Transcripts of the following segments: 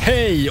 Hej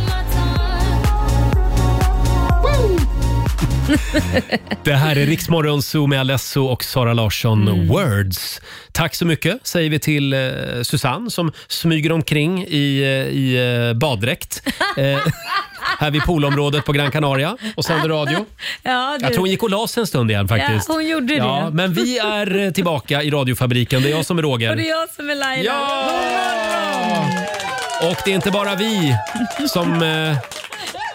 Det här är Riksmorgon Zoo med Alesso och Sara Larsson, Words. Tack så mycket säger vi till eh, Susanne som smyger omkring i, eh, i eh, baddräkt. Eh, här vid poolområdet på Gran Canaria och sänder radio. Ja, du. Jag tror hon gick och la sig en stund igen faktiskt. Ja, hon gjorde Ja, det. men vi är eh, tillbaka i radiofabriken. Det är jag som är Och det är Roger. jag som är Laila. Ja! Och det är inte bara vi som, eh,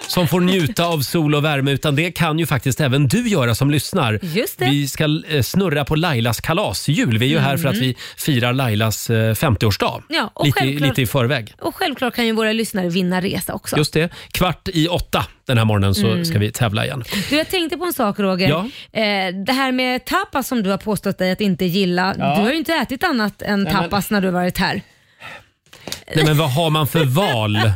som får njuta av sol och värme utan det kan ju faktiskt även du göra som lyssnar. Just det. Vi ska eh, snurra på Lailas kalasjul. Vi är ju här för att vi firar Lailas eh, 50-årsdag. Mm. Ja, och lite, i- självklart- lite i förväg. Och självklart kan ju våra lyssnare vinna resa också. Just det. Kvart i åtta den här morgonen så Mm. ska vi tävla igen. Du, jag tänkte på en sak Roger. Ja. Eh, det här med tapas som du har påstått dig att inte gilla. Du har ju inte ätit annat än tapas när du har varit här. Nej, men vad har man för val?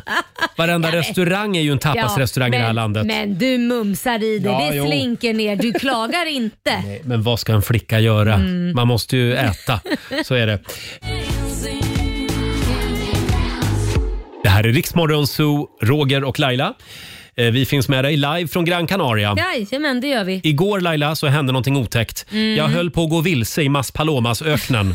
Varenda restaurang är ju en tapasrestaurang i det här men- landet. Men du mumsar i dig, Ja, det jo. slinker ner. Du klagar inte. Nej, Men vad ska en flicka göra? Mm. Man måste ju äta. Så är det. Det här är Riksmorgon Zoo, Roger och Laila. Eh, Vi finns med dig live från Gran Canaria. Jajamän, det gör vi. Igår Laila så hände någonting otäckt. Mm. Jag höll på att gå vilse i Mas Palomas öknen.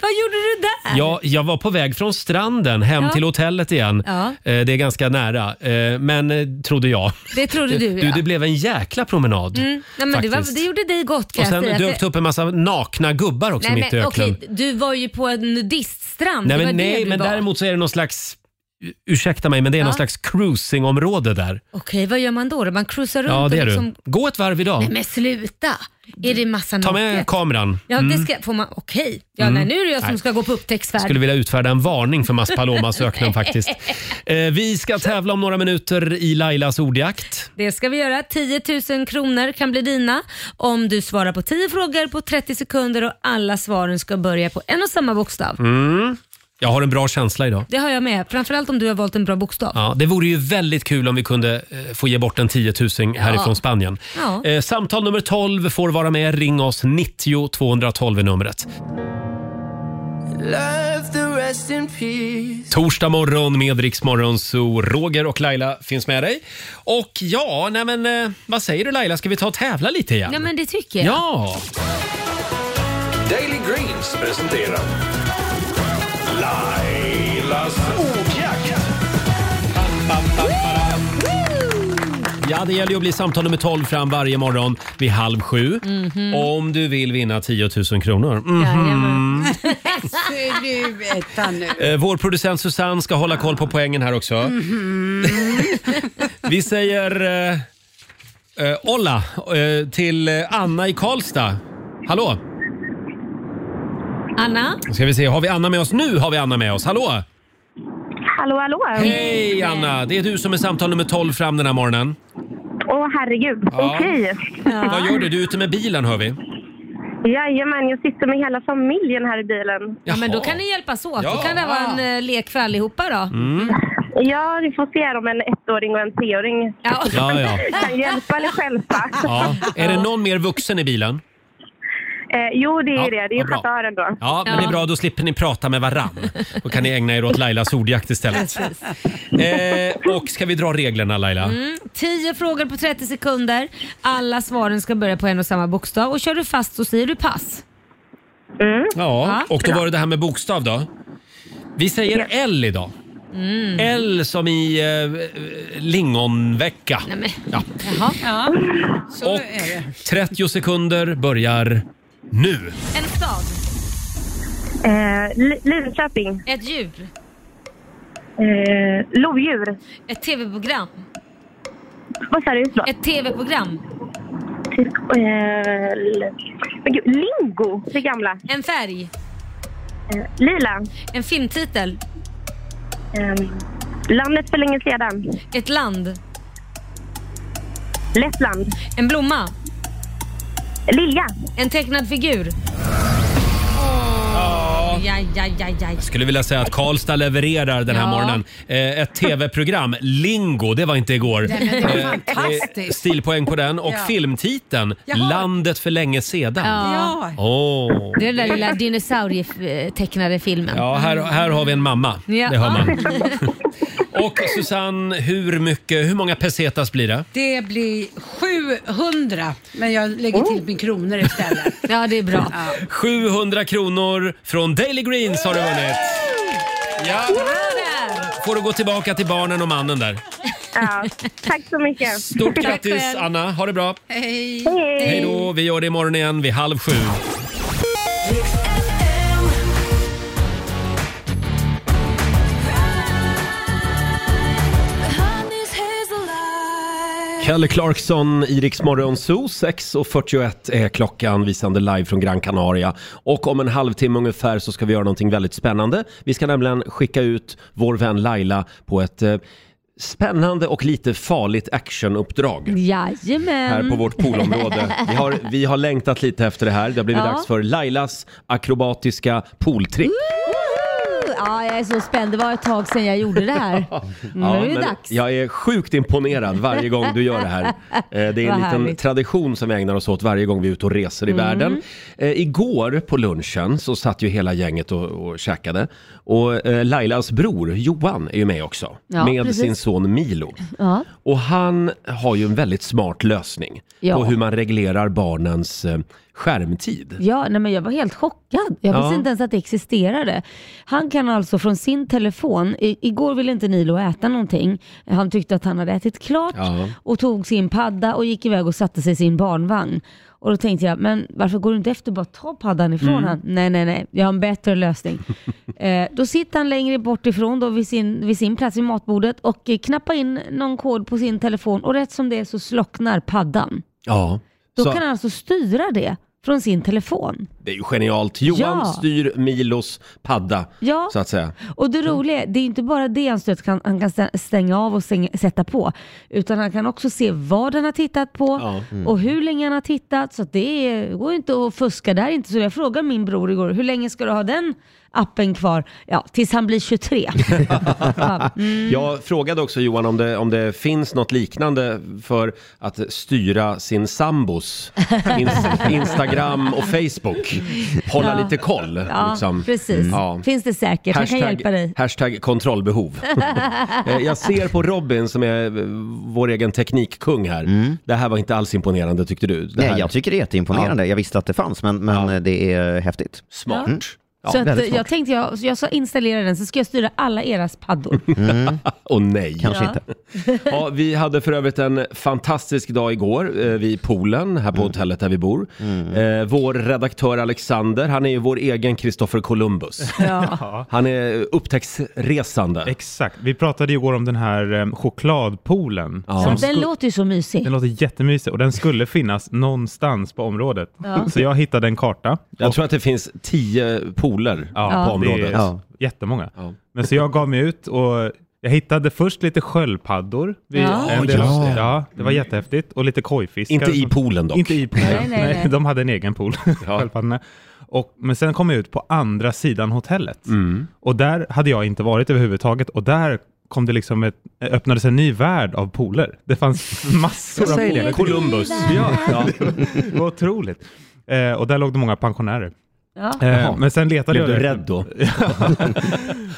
Vad gjorde du där? Jag, jag var på väg från stranden hem Ja. till hotellet igen. Ja. Eh, Det är ganska nära, eh, men eh, trodde jag. Det trodde du, Du, ja. det blev en jäkla promenad. Mm. Nej, men det, var, faktiskt. det gjorde dig gott kan Och jag säga. sen dök Det- det upp en massa nakna gubbar också Nej, mitt i men, öknen. okej, du var ju på en nudiststrand. Nej, det var men, det nej, du men var. däremot så är det någon slags Ursäkta mig, men det är Ja. någon slags cruisingområde där. Okej, vad gör man då? då? Man cruisar runt Ja, det är och du. liksom... Gå ett varv idag. Nej, men sluta! Är det massa Ta naket? med kameran. Ja, det ska... Får man... Okej. Ja, nej, nu är det jag som ska gå på upptäcktsfärd. Mm. Skulle vilja utfärda en varning för Mas Palomas öknen faktiskt. Eh, vi ska tävla om några minuter i Lailas ordjakt. Det ska vi göra. 10 000 kronor kan bli dina om du svarar på 10 frågor på 30 sekunder och alla svaren ska börja på en och samma bokstav. Mm. Jag har en bra känsla idag. Det har jag med. Framförallt om du har valt en bra bokstav. Ja, det vore ju väldigt kul om vi kunde eh, få ge bort en 10 000 härifrån Ja. Spanien. Ja. Eh, samtal nummer 12 får vara med. Ring oss 90 212 är numret. Torsdag morgon med Rix Morgon, så Roger och Laila finns med dig. Och ja, nej men eh, vad säger du Laila, ska vi ta och tävla lite igen? Ja, men det tycker jag. Ja, Daily Greens presenterar Lailas ordjakt. ja, det gäller ju att bli samtal nummer 12 fram varje morgon vid halv sju. Mhm. Om du vill vinna 10 000 kronor. Mm. Jajamän. Sluta nu. Eh, Vår producent Susanne ska hålla koll på poängen här också. Mhm. Vi säger eh, eh, Olla eh, till eh, Anna i Karlstad. Hallå! Anna? Då ska vi se, har vi Anna med oss? Nu har vi Anna med oss. Hallå! Hallå, hallå! Hej Anna! Det är du som är samtal nummer 12 fram den här morgonen. Åh, herregud. Ja. Okej. Vad gör du? Du är ute med bilen hör vi. Jajamän, jag sitter med hela familjen här i bilen. Ja, men då Jaha. kan ni hjälpas åt. Ja. Då kan det vara en eh, lek för allihopa då. Mm. Ja, vi får se om en ettåring och en treåring Ja. Ja, ja. kan hjälpa eller stjälpa. ja. Är det någon mer vuxen i bilen? Eh, jo, det är Ja, ju det. Det är ju vad bra. chauffören då. Ja, men det är bra. Då slipper ni prata med varann. Då kan ni ägna er åt Lailas ordjakt istället. Eh, och ska vi dra reglerna Laila? Mm. 10 frågor på 30 sekunder. Alla svaren ska börja på en och samma bokstav och kör du fast så säger du pass. Mm. Ja, Ja. och då var det det här med bokstav då. Vi säger L idag. Mm. L som i eh, lingonvecka. men- Ja. Jaha. Så Och är det. 30 sekunder börjar nu. En stad, Eh, Li- Linköping. ett djur, Eh, lodjur. ett tv-program, Vad sa du? Förlåt. ett tv-program, Eh, l- men gud, lingo, det gamla. en färg, Eh, lila. en filmtitel, Eh, landet för länge sedan. ett land, Lettland. en blomma, Lilja. en tecknad figur. aj, aj, aj, aj, aj. Skulle vilja säga att Karlstad levererar den här Ja. morgonen. Eh, ett tv-program, Lingo, det var inte igår. Nej, men det var Eh, fantastiskt. eh, Stilpoäng på den. Och Ja. filmtiteln, Jaha. Landet för länge sedan. Ja. Åh. Det är den där lilla dinosaurietecknade filmen. Ja, här, här har vi en mamma. Ja. Det hör man. Och Susanne, hur, mycket, hur många pesetas blir det? Det blir 700, men jag lägger till min kronor istället. Ja, det är bra. 700 kronor från Daily Greens har du vunnit. Ja, får du gå tillbaka till barnen och mannen där. Ja. Tack så mycket. Stort Tack grattis själv. Anna, ha det bra. Hej! Hej. Hej då, vi gör det imorgon igen vid halv sju. Kelly Clarkson i Rix Morgon Zoo. 6.41 är klockan, visande live från Gran Canaria. Och om en halvtimme ungefär så ska vi göra någonting väldigt spännande. Vi ska nämligen skicka ut vår vän Laila på ett eh, spännande och lite farligt actionuppdrag. Jajamän. här på vårt poolområde. Vi har, vi har längtat lite efter det här. Det har blivit Ja. dags för Lailas akrobatiska pooltrick. Woho! Ja, jag är så spänd. Det var ett tag sedan jag gjorde det här. Nu är det men dags. jag är sjukt imponerad varje gång du gör det här. Eh, Det är en liten Vad härligt. Mm. tradition som vi ägnar oss åt varje gång vi är ute och reser i världen. Eh, Igår på lunchen så satt ju hela gänget och, och käkade. Och eh, Lailas bror Johan är ju med också. Ja, med precis. sin son Milo. Ja. Och han har ju en väldigt smart lösning Ja. på hur man reglerar barnens eh, skärmtid. Ja, nej men jag var helt chockad. Jag Ja. visste inte ens att det existerade. Han kan alltså från sin telefon, i, igår ville inte Nilo äta någonting. Han tyckte att han hade ätit klart Ja. och tog sin padda och gick iväg och satte sig i sin barnvagn. Och då tänkte jag, men varför går du inte efter och bara ta paddan ifrån Mm. han? Nej, nej, nej, jag har en bättre lösning. eh, då sitter han längre bort ifrån då vid sin, vid sin plats vid matbordet och eh, knappar in någon kod på sin telefon och rätt som det är så slocknar paddan. Ja. Då Så- kan han alltså styra det från sin telefon. Det är ju genialt. Johan Ja. styr Milos padda, Ja. så att säga. Och det roliga är, det är inte bara det han, stöt, kan, han kan stä- stänga av och stänga, sätta på, utan han kan också se vad han har tittat på Ja. och hur länge han har tittat. Så att det är, går ju inte att fuska där inte. Så jag frågade min bror igår, hur länge ska du ha den appen kvar? Ja, tills han blir 23. ja, mm, Jag frågade också Johan om det, om det finns något liknande för att styra sin sambos ins- Instagram och Facebook. Hålla Ja. lite koll. ja liksom. precis. Ja. Finns det säkert. Han kan hjälpa dig. hashtag kontrollbehov. Eh, jag ser på Robin som är eh, vår egen teknikkung här. Det här var inte alls imponerande tyckte du? Det här, Mm. Nej, jag tycker det är jätteimponerande. Jag visste att det fanns, men, men eh, det är häftigt. Smart. Mm. Ja, så att, väldigt eh, jag smart. tänkte, jag, jag sa installera den så ska jag styra alla eras paddor. Och nej. Kanske Ja. inte. Ja, vi hade för övrigt en fantastisk dag igår eh, vid poolen här på hotellet där vi bor. Eh, vår redaktör Alexander, han är ju vår egen Kristoffer Columbus. Han är upptäcktsresande. Exakt. Vi pratade ju igår om den här eh, chokladpoolen. Ja. Ja, Som den sku- låter ju så mysig. den låter jättemysig och den skulle finnas någonstans på området. Så jag hittade en karta. Jag tror att det finns tio pooler på Det är området. Ja. Jättemånga. Ja. Men så jag gav mig ut och jag hittade först lite sköldpaddor. vid Ja. Mm. en del av- Ja. ja, det var jättehäftigt. Och lite kojfiskar. Inte i som- poolen dock. Inte i poolen. Nej, nej, nej. De hade en egen pool, sköldpaddorna. Och, men sen kom jag ut på andra sidan hotellet. Mm. Och där hade jag inte varit överhuvudtaget. Och där kom det liksom ett, öppnades en ny värld av pooler. Det fanns massor av pooler. Columbus. Ja, det var otroligt. Eh, och där låg det många pensionärer. Ja. Eh, men sen letade Blev jag du efter- rädd då?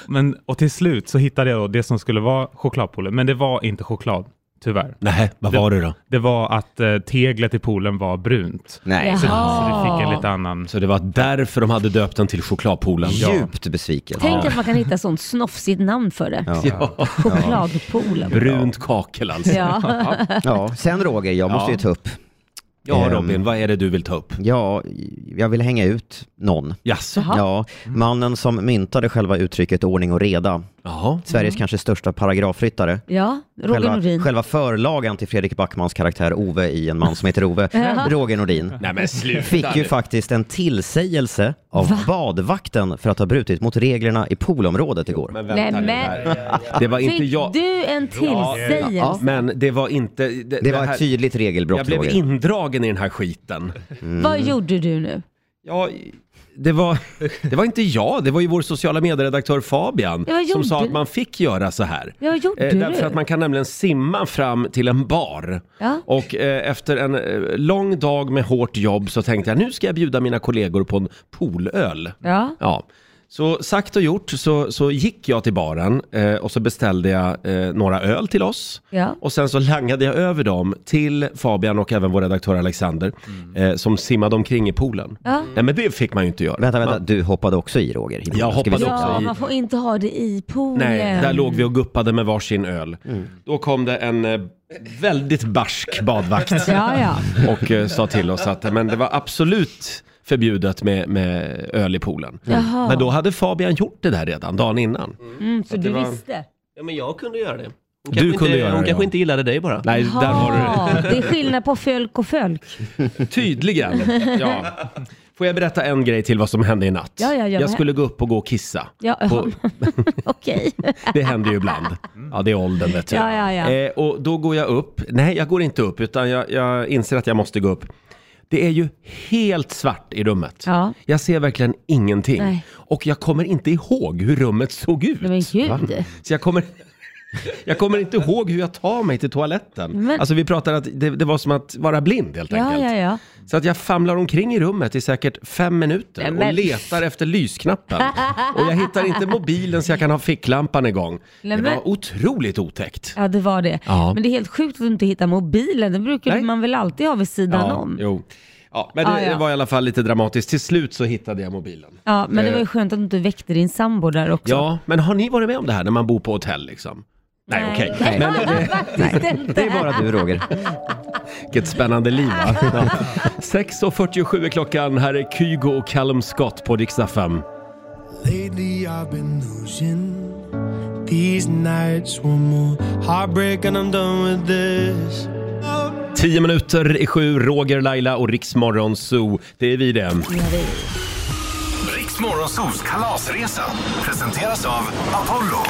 men, och till slut så hittade jag då det som skulle vara chokladpoolen, men det var inte choklad, tyvärr. Nej, vad var det då? Det var att eh, teglet i poolen var brunt. Nej, Jaha. så Så det Ah. fick en lite annan... Så det var därför de hade döpt den till chokladpoolen. djupt besviken. Tänk att man kan hitta sånt snofsigt namn för det. Ja. Chokladpoolen. Brunt kakel alltså. Ja. Ja. Sen Roger, jag måste ju ta upp. Ja Ehm. Robin, vad är det du vill ta upp? Ja, jag vill hänga ut någon. Jaså? Ja, mannen som myntade själva uttrycket ordning och reda. Jaha. Sveriges kanske största paragrafryttare. ja, Mm. Roger Själva, Nordin. själva förlagan till Fredrik Backmans karaktär Ove i En man som heter Ove, Roger Nordin, Nej men sluta fick ju nu. faktiskt en tillsägelse av badvakten för att ha brutit mot reglerna i poolområdet igår. Men Nej, vänta nu här. men Det var inte fick jag. du en tillsägelse? Ja. Men det var inte... Det, Det var här- ett tydligt regelbrott, Jag blev Roger. Mm. indragen i den här skiten. Vad gjorde du nu? Ja, det var, det var inte jag, det var ju vår sociala medieredaktör Fabian Ja, vad som sa gjorde att man fick göra så här. Ja, vad gjorde Eh, därför du? att man kan nämligen simma fram till en bar. Ja. Och eh, efter en eh, lång dag med hårt jobb så tänkte jag nu ska jag bjuda mina kollegor på en poolöl. Ja. Ja. Så sagt och gjort så, så gick jag till baren eh, och så beställde jag eh, några öl till oss. Ja. Och sen så langade jag över dem till Fabian och även vår redaktör Alexander Mm. eh, som simmade omkring i poolen. Ja. Nej men det fick man ju inte göra. Vänta, vänta, Man- du hoppade också i Roger? i Jag poolen, ska vi hoppade säga. också Ja, i- man får inte ha det i poolen. Nej, där låg vi och guppade med varsin öl. Mm. Då kom det en eh, väldigt barsk badvakt Ja, ja. och eh, sa till oss att eh, men det var absolut förbjudet med, med öl i poolen. Jaha. Men då hade Fabian gjort det där redan dagen innan. Mm, så du det var- visste. Ja, men jag kunde göra det. Hon Du kanske inte, kunde göra Hon det, kanske ja. inte gillade dig bara. Nej, där har du det. Ja, det är skillnad på fölk och fölk. Tydligen. Ja. Får jag berätta en grej till vad som hände i natt? Ja, ja, ja. jag skulle gå upp och gå och kissa. Ja, ja. På, Okej. det händer ju ibland. Ja, det är åldern vet du. Ja, ja, ja. Eh, och då går jag upp. Nej, jag går inte upp utan jag, jag inser att jag måste gå upp. Det är ju helt svart i rummet. Ja. Jag ser verkligen ingenting. Nej. Och jag kommer inte ihåg hur rummet såg ut. Men gud. Så jag kommer... Jag kommer inte ihåg hur jag tar mig till toaletten. Men- Alltså vi pratade att det, det var som att vara blind helt Ja, enkelt. ja, ja. Mm. Så att jag famlar omkring i rummet i säkert fem minuter Nej, men- och letar efter lysknappen. Och jag hittar inte mobilen så jag kan ha ficklampan igång. Nej, det men- var otroligt otäckt. Ja, det var det. Ja. Men det är helt sjukt att du inte hittar mobilen. Den brukar Nej. man väl alltid ha vid sidan Ja, om? jo. Ja, men det, Ja, ja. det var i alla fall lite dramatiskt. Till slut så hittade jag mobilen. Ja, men det var ju Eh. skönt att du inte väckte din sambo där också. Ja, men har ni varit med om det här när man bor på hotell liksom? Nej, okej. Nej, Men det faktiskt Det inte. är bara du Roger. vilket spännande liv va? Ja. 6.47 är klockan. Här är Kygo och Callum Scott på riksdag 5. Lately I've been losing these nights one more heartbreak and I'm done with this. Tio minuter i sju, Roger, Laila och Riksmorgon Zoo. Det är vi det. Riks Morgonzoos kalasresa presenteras av Apollo.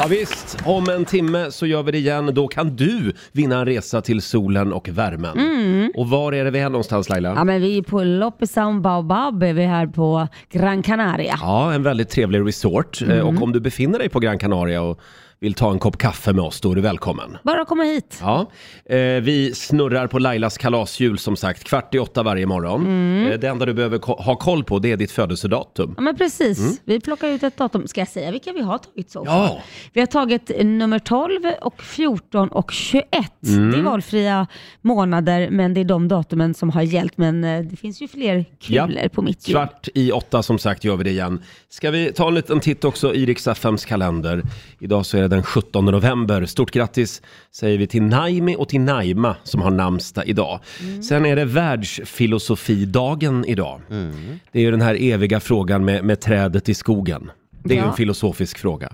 Ja, visst, om en timme så gör vi det igen. Då kan du vinna en resa till solen och värmen. Och var är det vi är någonstans Laila? Ja, men vi är på Loppisan Baobab, är vi här på Gran Canaria. Ja, en väldigt trevlig resort. Eh, Och om du befinner dig på Gran Canaria och vill ta en kopp kaffe med oss, då är du välkommen. Bara komma hit. Ja, eh, vi snurrar på Lailas kalashjul som sagt, kvart i åtta varje morgon. Eh, det enda du behöver ko- ha koll på, det är ditt födelsedatum. Ja, men precis. Vi plockar ut ett datum. Ska jag säga vilka vi har tagit så far? Mm. Ja, Vi har tagit nummer 12 och 14 och 21. Mm. Det är valfria månader, men det är de datumen som har gällt. Men eh, det finns ju fler kulor på mitt hjul. Kvart i åtta som sagt gör vi det igen. Ska vi ta en liten titt också i riks FMs kalender. Idag så är det den 17 november. Stort grattis säger vi till Naimi och till Naima som har namnsdag idag. Mm. Sen är det världsfilosofidagen idag. Mm. Det är ju den här eviga frågan med, med trädet i skogen. Det är ju Ja. en filosofisk fråga.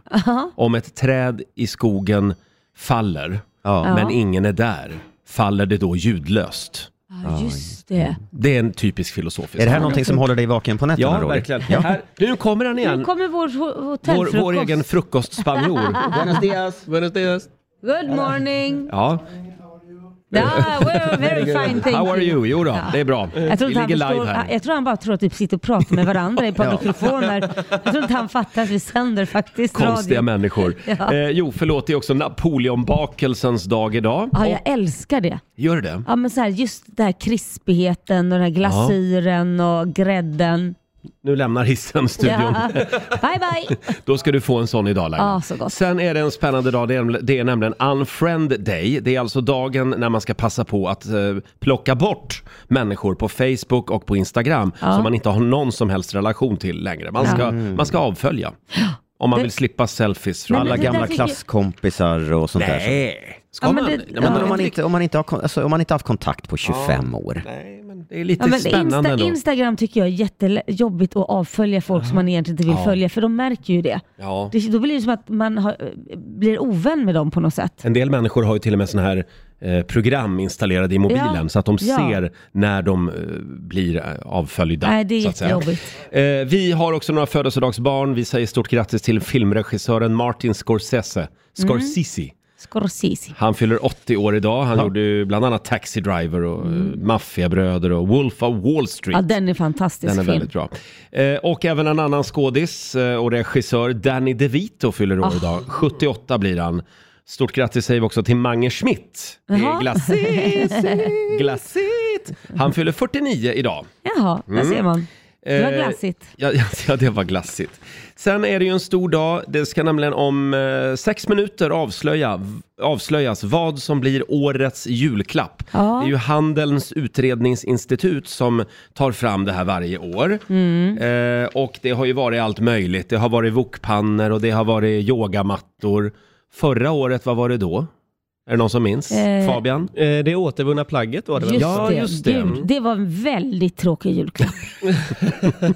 Om ett träd i skogen faller, Ja. men ingen är där, faller det då ljudlöst? Ja, just det. Det är en typisk filosofisk Är det fråga. här någonting som håller dig vaken på nätterna Ja, Roger? verkligen. Här, nu kommer han Nu igen. kommer vår ho- Vår, hotellfrukost. vår egen frukostspanjor. Buenos dias. Buenos dias. Good morning! Ja. Ja, we're very fine, thank How are you? Jo då, det är bra. Jag tror, Vi inte han ligger live förstår, här. jag tror han bara tror att vi sitter och pratar med varandra i ett par mikrofoner. Jag tror inte han fattar att vi sänder faktiskt Konstiga radio. människor. Ja. Eh, jo, förlåt, det är också Napoleonbakelsens dag idag. Ja, jag älskar det. Gör det? Ja, men så här, just den här krispigheten och den här glasyren och grädden. Nu lämnar hissen studion. Ja. Bye bye! Då ska du få en sån idag Laila. Ja, så gott. Sen är det en spännande dag, det är, det är nämligen Unfriend Day. Det är alltså dagen när man ska passa på att eh, plocka bort människor på Facebook och på Instagram som man inte har någon som helst relation till längre. Man ska, man ska avfölja. Om man vill slippa selfies från Mm. Nej, men alla det Alla där gamla tycker jag- klasskompisar och sånt där. som- Nej! Ska Ja, man? men Det, det- ja, Ja, men men Ja. om man, inte, om, man inte har, kon- alltså, om man inte har haft kontakt på 25 år. Nej, men det är lite Ja, men spännande Insta, ändå. Instagram tycker jag är jättejobbigt att avfölja folk som man egentligen inte vill följa, för de märker ju det. Ja. det. Då blir det som att man har, blir ovän med dem på något sätt. En del människor har ju till och med sådana här eh, program installerade i mobilen Ja. så att de Ja. ser när de eh, blir eh, avföljda. Nej, det är så att säga. jättejobbigt. Eh, vi har också några Mhm. födelsedagsbarn. Vi säger stort grattis till filmregissören Martin Scorsese. Scorsese. Scorsese. Han fyller 80 år idag. Han gjorde ju bland annat Taxi Driver och eh, Maffiabröder och Wolf of Wall Street. Ja, den är fantastisk Den är film. väldigt bra. Eh, och även en annan skådis eh, och regissör, Danny DeVito, fyller år Ah. idag. 78 blir han. Stort grattis säger vi också till Mange Schmidt. Det är Jaha. Glassigt, glassigt. Han fyller 49 idag. Jaha, där Mm. ser man. Det var Eh, glassigt. Ja, ja, ja, det var glassigt. Sen är det ju en stor dag. Det ska nämligen om eh, sex minuter avslöja, avslöjas vad som blir årets julklapp. Ja. Det är ju Handelns utredningsinstitut som tar fram det här varje år. Mm. Eh, och det har ju varit allt möjligt. Det har varit wokpannor och det har varit yogamattor. Förra året, vad var det då? Är det någon som minns? Eh. Fabian? det återvunna plagget var Just Ja, det. just det. Gud, det var en väldigt tråkig julklapp.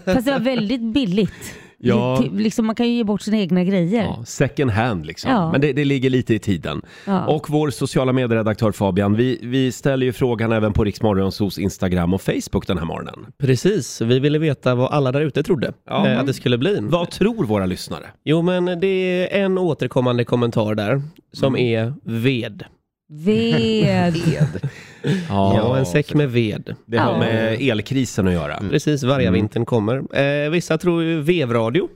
Fast det var väldigt billigt. Ja. Ty- Liksom, man kan ju ge bort sina egna grejer. Ja, second hand liksom. Ja. Men det, det ligger lite i tiden. Ja. Och vår sociala medieredaktör Fabian, vi, vi ställer ju frågan även på Riksmorgonsos Instagram och Facebook den här morgonen. Precis, vi ville veta vad alla där ute trodde Ja. eh, att det skulle bli. Vad tror våra lyssnare? Jo, men det är en återkommande kommentar där som är ved. Ved. Ja, en säck med ved. Det har Ja. med elkrisen att göra. Precis, varje Mm. vintern kommer. Eh, vissa tror ju vevradio.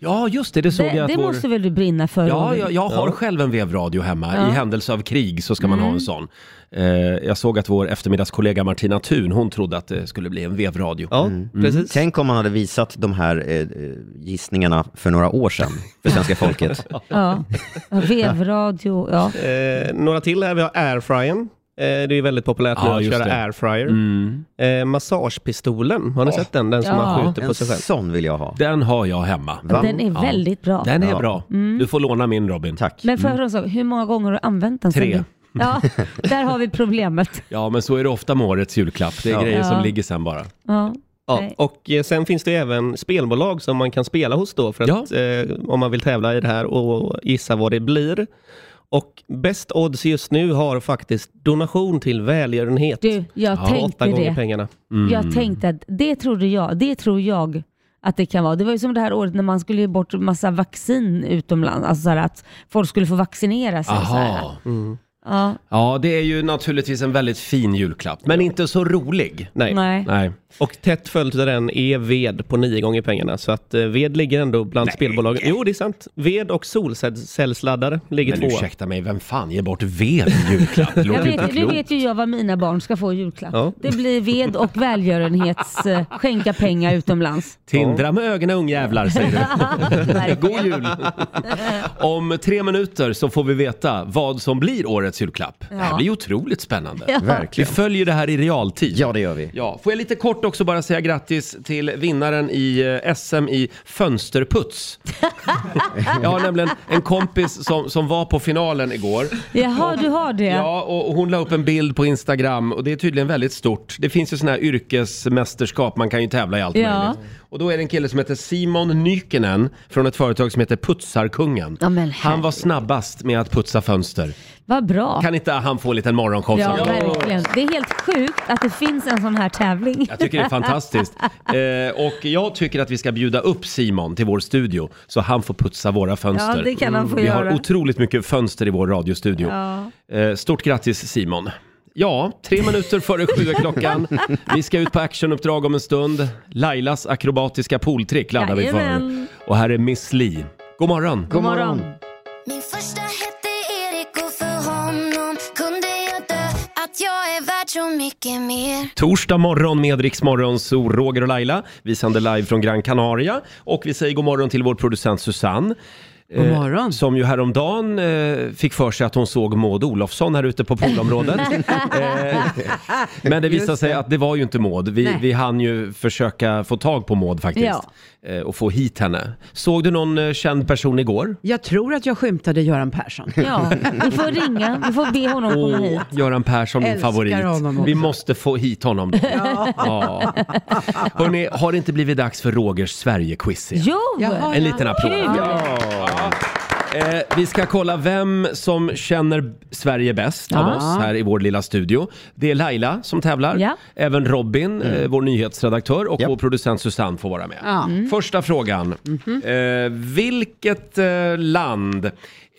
Ja, just det, det såg Det, jag att det vår... måste väl du brinna för? Ja, Robin? jag, jag har själv en vevradio hemma. Ja. Mm. I händelse av krig så ska man ha en sån. Eh, jag såg att vår eftermiddagskollega Martina Thun, hon trodde att det skulle bli en vevradio. Mm. Tänk om man hade visat de här eh, gissningarna för några år sedan för svenska folket. Ja. Ja, Vevradio, ja. Eh, några till här, vi har airfryern. Eh, det är ju väldigt populärt nu Ja, att just köra det. airfryer. Eh, massagepistolen, har ni sett den? Den som man Ja. skjuter på En sig själv. sån vill jag ha. Den har jag hemma. Va? Den är Ja. väldigt bra. Den är Ja. bra. Mm. Du får låna min Robin. Tack. Men för mm. så, hur många gånger har du använt den? Tre. sen du- Ja, där har vi problemet. Ja, men så är det ofta med årets julklapp. Det är Ja. grejer som Ja. ligger sen bara. Ja. Ja, Nej. och eh, sen finns det ju även spelbolag som man kan spela hos då, för att, eh, om man vill tävla i det här och gissa vad det blir. Och bäst odds just nu har faktiskt donation till välgörenhet. Du, jag Ja, tänkte Åtta gånger det. pengarna. Mm. Jag tänkte att det trodde jag, det tror jag att det kan vara. Det var ju som det här året när man skulle ge bort massa vaccin utomlands, alltså så här att folk skulle få vaccinera sig. Så här. Aha. Mm. Ja, Ja, det är ju naturligtvis en väldigt fin julklapp, men inte så rolig. Nej. nej. Nej. Och tätt följt av den är ved på nio gånger pengarna. Så att eh, ved ligger ändå bland spelbolagen. Jo, det är sant. Ved och solcellsladdare ligger Men tvåa. ursäkta mig, vem fan ger bort ved i julklapp? Det Jag låter inte vet, nu klokt. vet ju jag vad mina barn ska få i julklapp. Ja. Det blir ved och välgörenhets eh, skänka pengar utomlands. Tindra med ögonen ungjävlar, säger du. God jul! Om tre minuter så får vi veta vad som blir årets julklapp. Det här Ja. blir ju otroligt spännande. Vi Verkligen. följer det här i realtid. Ja, det gör vi. Ja, får jag lite kort också bara säga grattis till vinnaren i eh, SM i fönsterputs. Jag har nämligen en kompis som, som var på finalen igår. Jaha, du har det? Ja, och och hon la upp en bild på Instagram och det är tydligen väldigt stort. Det finns ju sådana här yrkesmästerskap, man kan ju tävla i allt Ja. möjligt. Och då är det en kille som heter Simon Nykenen från ett företag som heter Putsarkungen. Ja, men Han var herregud. snabbast med att putsa fönster. Vad bra. Kan inte han få en liten morgonshow Ja, sen? verkligen. Det är helt sjukt att det finns en sån här tävling. Jag tycker det är fantastiskt. Eh, och jag tycker att vi ska bjuda upp Simon till vår studio så han får putsa våra fönster. Mm. Ja, det kan han få vi har göra. otroligt mycket fönster i vår radiostudio. Ja. Eh, stort grattis Simon. Ja, tre minuter före sju är klockan. Vi ska ut på actionuppdrag om en stund. Lailas akrobatiska pooltrick laddar vi för. Jajamän. Och här är Miss Li. God morgon! God morgon. Min första hette Erik och för honom kunde jag dö Att jag är värd så mycket mer Torsdag morgon med Rix Morgon, så Roger och Laila. Vi sänder live från Gran Canaria. Och vi säger god morgon till vår producent Susanne. God morgon. som ju häromdagen eh, fick för sig att hon såg Maud Olofsson här ute på poolområdet. eh, men det visade sig att det var ju inte Maud. Vi, Nej. vi hann ju försöka få tag på Maud faktiskt. Eh, och få hit henne. Såg du någon eh, känd person igår? Jag tror att jag skymtade Göran Persson. Ja, vi får ringa. Vi får be honom Oh. komma hit. Göran Persson, min Älskar favorit. honom också. Vi måste få hit honom. Då. Ja. Hörrni, har det inte blivit dags för Rogers Sverige-quiz igen? Jo! Jaha, En liten applåd. Kul. Ja. Eh, vi ska kolla vem som känner Sverige bäst av Ja. oss här i vår lilla studio. Det är Laila som tävlar, Ja. även Robin, eh, vår nyhetsredaktör och vår producent Susanne får Mm. vara med. Ja. Mhm. Första frågan. Eh, vilket eh, land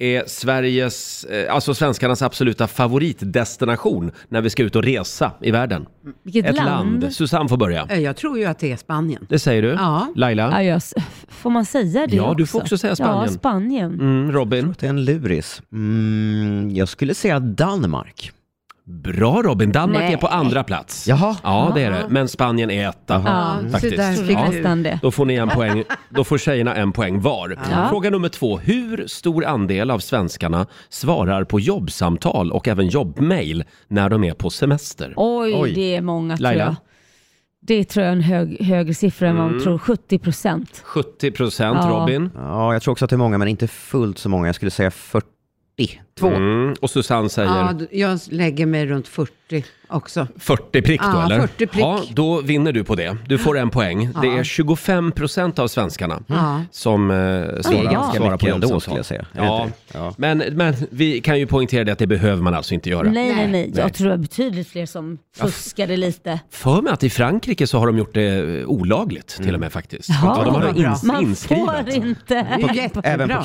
är Sveriges, eh, alltså svenskarnas absoluta favoritdestination när vi ska ut och resa i världen? Vilket Ett land? Susanne får börja. Eh, Jag tror ju att det är Spanien. Det säger du? Ja. Laila? Ja, jag, s- får man säga det Ja, du får också säga Spanien. Ja, Mm. Spanien. Robin? Jag tror att det är en luris. Mm, jag skulle säga Danmark. Bra Robin, Danmark Nej. är på andra plats. Jaha. Ja, det är det. Men Spanien är etta. Mm. Ja, så faktiskt. där fick vi nästan det. Då får ni en poäng. Då får tjejerna en poäng var. Ja. Fråga nummer två. Hur stor andel av svenskarna svarar på jobbsamtal och även jobbmail när de är på semester? Oj, det är många tror Laila? jag. Det tror jag är en hög, högre siffra än vad man Mm. tror. 70 procent. 70 procent, Ja. Robin. Ja, jag tror också att det är många, men inte fullt så många. Jag skulle säga 42. Mm. Och Susanne säger? Ja, d- jag lägger mig runt 40 också. 40 prick då Ja, eller? 40 prick. Ja, då vinner du på det. Du får en poäng. Det Ja. är 25 procent av svenskarna Mm. Ja. som eh, svarar, ganska svarar mycket ändå, jobbsamtal. skulle jag säga. Är det Ja. inte Men, men vi kan ju poängtera det att det behöver man alltså inte göra. Nej, nej, nej, Nej. Jag tror det är betydligt fler som Ja. fuskade lite. För mig att i Frankrike så har de gjort det eh, olagligt Mm. till och med faktiskt. Jaha. Ja, de har det ins- man inskrivet. får inte. och helger.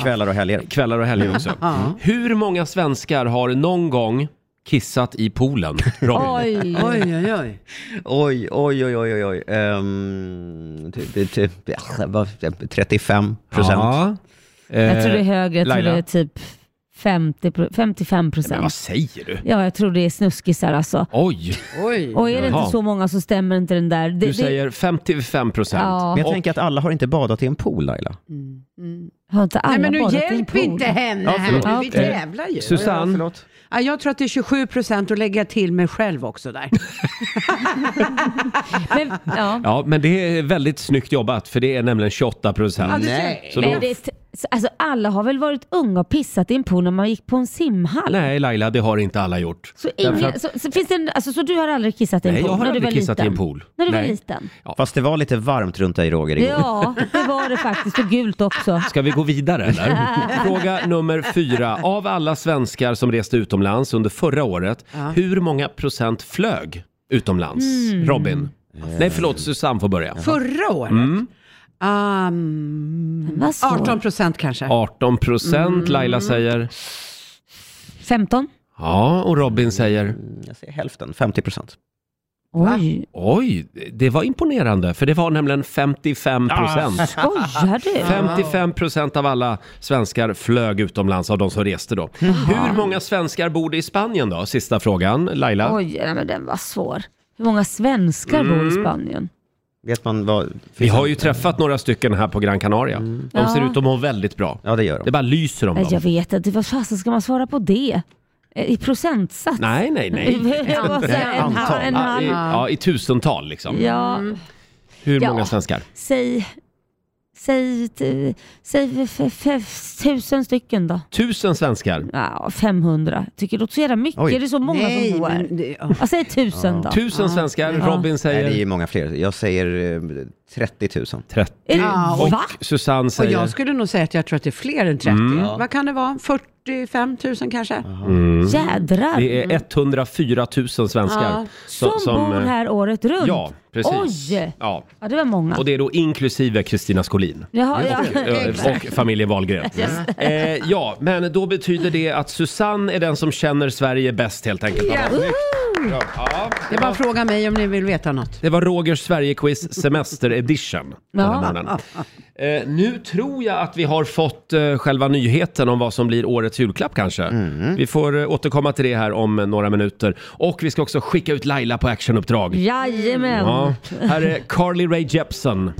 Kvällar och helger också. Ja. Hur många svenskar har någon gång kissat i poolen? Robin? Oj. Oj, oj, oj. Oj, oj, oj, oj, oj, oj. Ehm, ty- ty- ty- ja, vad- 35 procent. Ja. Eh, Jag tror det är högre. Jag tror det är typ 50, pro- 55 Men alltså. procent. vad säger du? Ja, jag tror det är snuskisar alltså. Oj! Oj. Och är det Jaha. inte så många så stämmer inte den där. Det, Du säger 55 procent. Ja. Men jag Och- tänker att alla har inte badat i en pool, Laila. det, har inte alla Nej, men badat nu i en hjälp pool? inte henne Ja, här förlåt. nu. Vi Eh, tävlar ju. Susanne? Ja, Ja, jag tror att det är 27 procent och lägger jag till mig själv också där. Men, ja. Ja, men det är väldigt snyggt jobbat för det är nämligen 28 Ja, procent. du ser. Så då, Men det, är t- så- alltså, alla har väl varit unga och pissat i en pool när man gick på en simhall? nej Laila, det har inte alla gjort. Så, Därför ingen, att- så, så, finns det en, alltså, så du har aldrig kissat i en Nej, pool? jag när har du aldrig var kissat i en liten? pool. När du var Nej. liten? Fast det var lite varmt runt dig, Roger, igår. Ja, det var det faktiskt. Och gult också. Ska vi gå vidare eller? Fråga nummer fyra. Av alla svenskar som reste utomlands under förra året, Ja. hur många procent flög utomlands? Mm. Robin? Eh. Nej, förlåt, Susanne får börja. Förra året? Mm. Um, 18 procent kanske. 18 procent, Mm. Laila säger. 15? Ja, och Robin säger? Jag säger hälften, 50 procent. Oj. Oj, det var imponerande för det var nämligen 55 procent. Skojar du? 55 procent av alla svenskar flög utomlands av de som reste då. Hur många svenskar bodde i Spanien då? Sista frågan, Laila? Oj, nej, men den var svår. Hur många svenskar bor i Mm. Spanien? Vet man vad... Vi har ju träffat några stycken här på Gran Canaria. De ser Mm. Ja. ut att må väldigt bra. Ja, det gör de. Det bara lyser om Nej, jag dem. vet inte. Vad fasen ska man svara på det? Eh, I procentsats? Nej, nej, nej. Jag var så här, en halv- en Ja, i, halv. ja, i tusental liksom. Ja. Hur Ja. många svenskar? Säg, säg, t- säg f- f- f- tusen stycken då. Tusen svenskar. Ja, 500. Tycker det låter så jävla mycket. Oj. Det är så många Nej, som bor här. men det- Ja, säg tusen då. Ja. Nej, det är ju många fler. Jag säger eh, 30 000. 30. Ja, och- Va? Susanne Och säger... jag skulle nog säga att jag tror att det är fler än 30. Mm. Ja. Vad kan det vara? 45 000 kanske? Mm. Jädrar. Det är 104 000 svenskar. Ja, som, bor eh, här året runt. Ja, precis. Oj! Ja. Ja, det var många. Och det är då inklusive Kristina Skolin. Jaha, Och, ja. eh, och familjen Wahlgren. Just Eh, ja, men då betyder det att Susanne är den som känner Sverige bäst helt enkelt. Ja. Ja, Det är bara att fråga mig om ni vill veta något. Det var Rogers Sverigequiz Semester Edition. den här morgonen. Eh, nu tror jag att vi har fått eh, själva nyheten om vad som blir årets julklapp kanske. Mm. Vi får eh, återkomma till det här om eh, några minuter. Och vi ska också skicka ut Laila på actionuppdrag. Jajamän. Ja, här är Carly Rae Jepsen.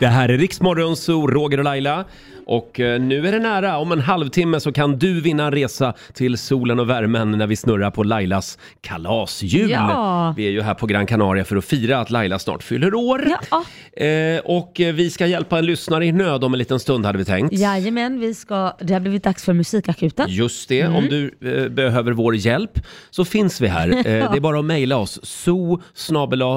Det här är Riksmorgon Zoo, Roger och Laila. Och eh, nu är det nära. Om en halvtimme så kan du vinna en resa till solen och värmen när vi snurrar på Lailas kalasjul. Ja. Vi är ju här på Gran Canaria för att fira att Laila snart fyller år. Eh, och eh, vi ska hjälpa en lyssnare i nöd om en liten stund hade vi tänkt. Jajamän, vi ska, det har blivit dags för musikakuten. Just det, Mm. om du eh, behöver vår hjälp så finns vi här. Eh, Ja. Det är bara att mejla oss, so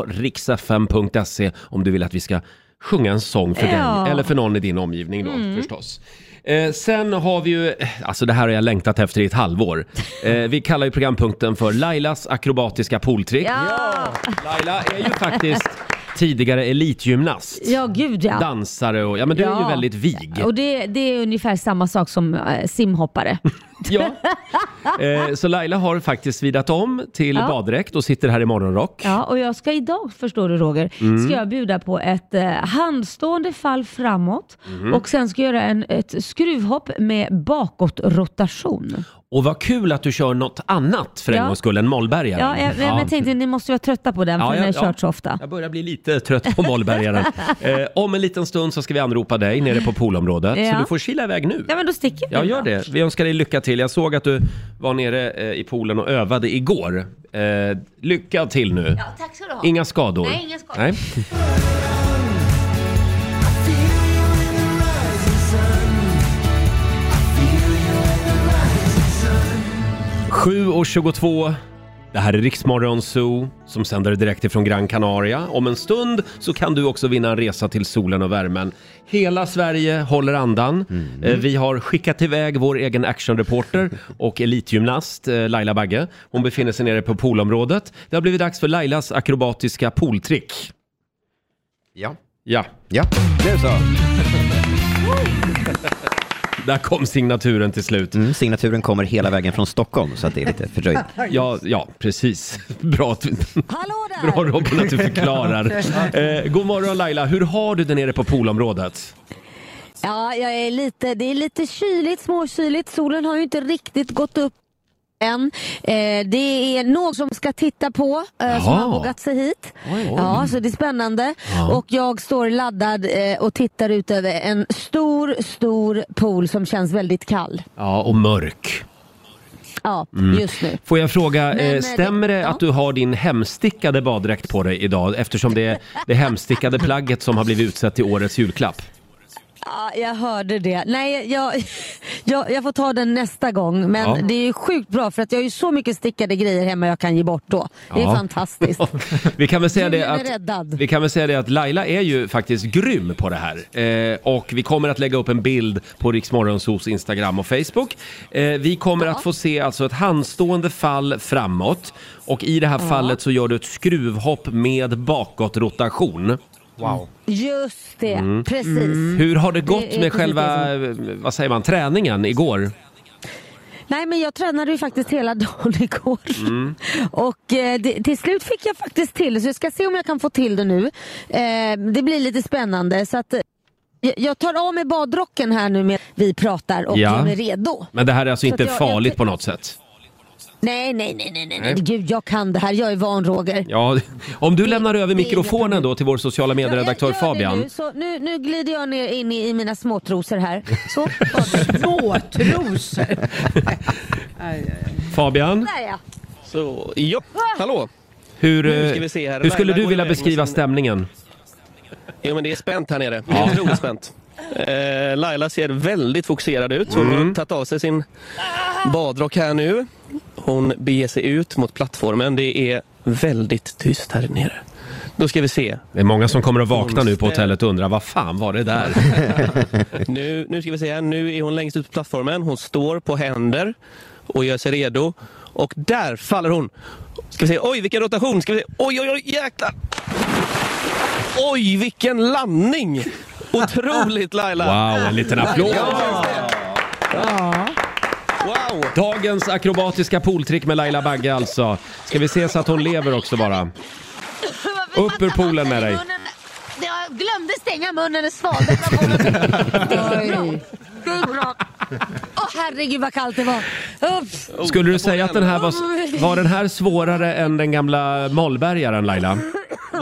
riksfm.se om du vill att vi ska sjunga en sång för Ja. dig eller för någon i din omgivning då Mm. förstås. Eh, sen har vi ju, alltså det här har jag längtat efter i ett halvår. Eh, vi kallar ju programpunkten för Lailas akrobatiska pooltrick. Ja! Laila är ju faktiskt tidigare elitgymnast. Ja, gud ja. Dansare och, ja men du är Ja. ju väldigt vig. Och det, det är ungefär samma sak som eh, simhoppare. Ja. Eh, så Laila har faktiskt svidat om till Ja. baddräkt och sitter här i morgonrock. Ja, och jag ska idag, förstår du Roger, Mm. ska jag bjuda på ett eh, handstående fall framåt Mm. och sen ska jag göra en, ett skruvhopp med bakåtrotation. Och vad kul att du kör något annat för en Ja. gångs skull än Ja, mollbergaren. jag, men jag tänkte ni måste vara trötta på den för Ja, den har ja, ja. kört så ofta. Jag börjar bli lite trött på mollbergaren. eh, om en liten stund så ska vi anropa dig nere på poolområdet. Så Ja. du får kila iväg nu. Ja, men då sticker vi Ja, då. gör det. Vi önskar dig lycka till. Jag såg att du var nere eh, i poolen och övade igår. Eh, lycka till nu. Ja, tack ska du ha. Inga skador. Nej, inga skador. Nej. Sju och 22. Det här är Riksmorgon Zoo som sänder direkt ifrån Gran Canaria. Om en stund så kan du också vinna en resa till solen och värmen. Hela Sverige håller andan. Eh, Vi har skickat iväg vår egen actionreporter och elitgymnast eh, Laila Bagge. Hon befinner sig nere på poolområdet. Det har blivit dags för Lailas akrobatiska pooltrick. Ja. Ja. Ja, nu så. Där kom signaturen till slut. Mm, signaturen kommer hela vägen från Stockholm, så att det är lite fördröjt. Ja, ja precis. Bra, att, bra Robin att du förklarar. Eh, god morgon Laila, hur har du det nere på poolområdet? Ja, jag är lite, det är lite kyligt, småkyligt. Solen har ju inte riktigt gått upp än. Eh, det är någon som ska titta på eh, som Jaha. har vågat sig hit. oj. Ja, så det är spännande. Ja. Och jag står laddad eh, och tittar ut över en stor, stor pool som känns väldigt kall. Ja, och mörk. Ja, Mm. just nu. Får jag fråga, Men, eh, eh, stämmer det att du har din hemstickade baddräkt på dig idag eftersom det är det hemstickade plagget som har blivit utsett till årets julklapp? Ja, jag hörde det. Nej, jag, jag, jag får ta den nästa gång. Men Ja. det är ju sjukt bra för att jag har ju så mycket stickade grejer hemma jag kan ge bort då. Det är Ja. fantastiskt. Vi kan väl säga Julen det är att, räddad. vi kan väl säga det att Laila är ju faktiskt grym på det här. Eh, och vi kommer att lägga upp en bild på Riksmorgonsos Instagram och Facebook. Eh, vi kommer att få se alltså ett handstående fall framåt. Och i det här Ja. fallet så gör du ett skruvhopp med bakåtrotation. Wow. Just det, Mm. precis. Hur har det gått Det är med precis det själva, som- eh, vad säger man, träningen igår? Nej men jag tränade ju faktiskt hela dagen igår. Mm. Och eh, det, till slut fick jag faktiskt till så jag ska se om jag kan få till det nu. Eh, det blir lite spännande så att eh, jag- jag tar av mig badrocken här nu med vi pratar och Ja. är redo. Men det här är alltså Så att inte jag- jag- farligt på något sätt? Nej, nej, nej, nej, nej, nej. Nej. Gud, jag kan det här. Jag är van, Roger. Ja, om du lämnar över det är inga mikrofonen då till vår sociala medieredaktör Fabian. Nu, så nu, nu glider jag ner in i, i mina småtrosor här. Så, Småtrosor! Fabian, där ja. Så, ja. Hallå! hur, Nu ska eh, vi se här. hur skulle Laila du går vilja iväg med beskriva sin- stämningen? Jo men det är spänt här nere. Det är otroligt spänt. Eh, Laila ser väldigt fokuserad ut. Hon har tagit av sig sin badrock här nu. Hon beger sig ut mot plattformen. Det är väldigt tyst här nere. Då ska vi se. Det är många som kommer att vakna nu på hotellet och undra vad fan var det där? Nu, nu ska vi se här. Nu är hon längst ut på plattformen. Hon står på händer och gör sig redo. Och där faller hon. Ska vi se. Oj, vilken rotation! Ska vi se. Oj, oj, oj, jäklar! Oj, vilken landning! Otroligt Laila! Wow, en liten applåd! Ja. Dagens akrobatiska pooltrick med Laila Bagge alltså. Ska vi se så att hon lever också bara. Upp ur poolen med dig. Jag glömde stänga munnen och svalde. Det är bra. Det är bra. Åh herregud vad kallt det var. Ups. Skulle du säga att den här var, var den här svårare än den gamla mollbergaren Laila?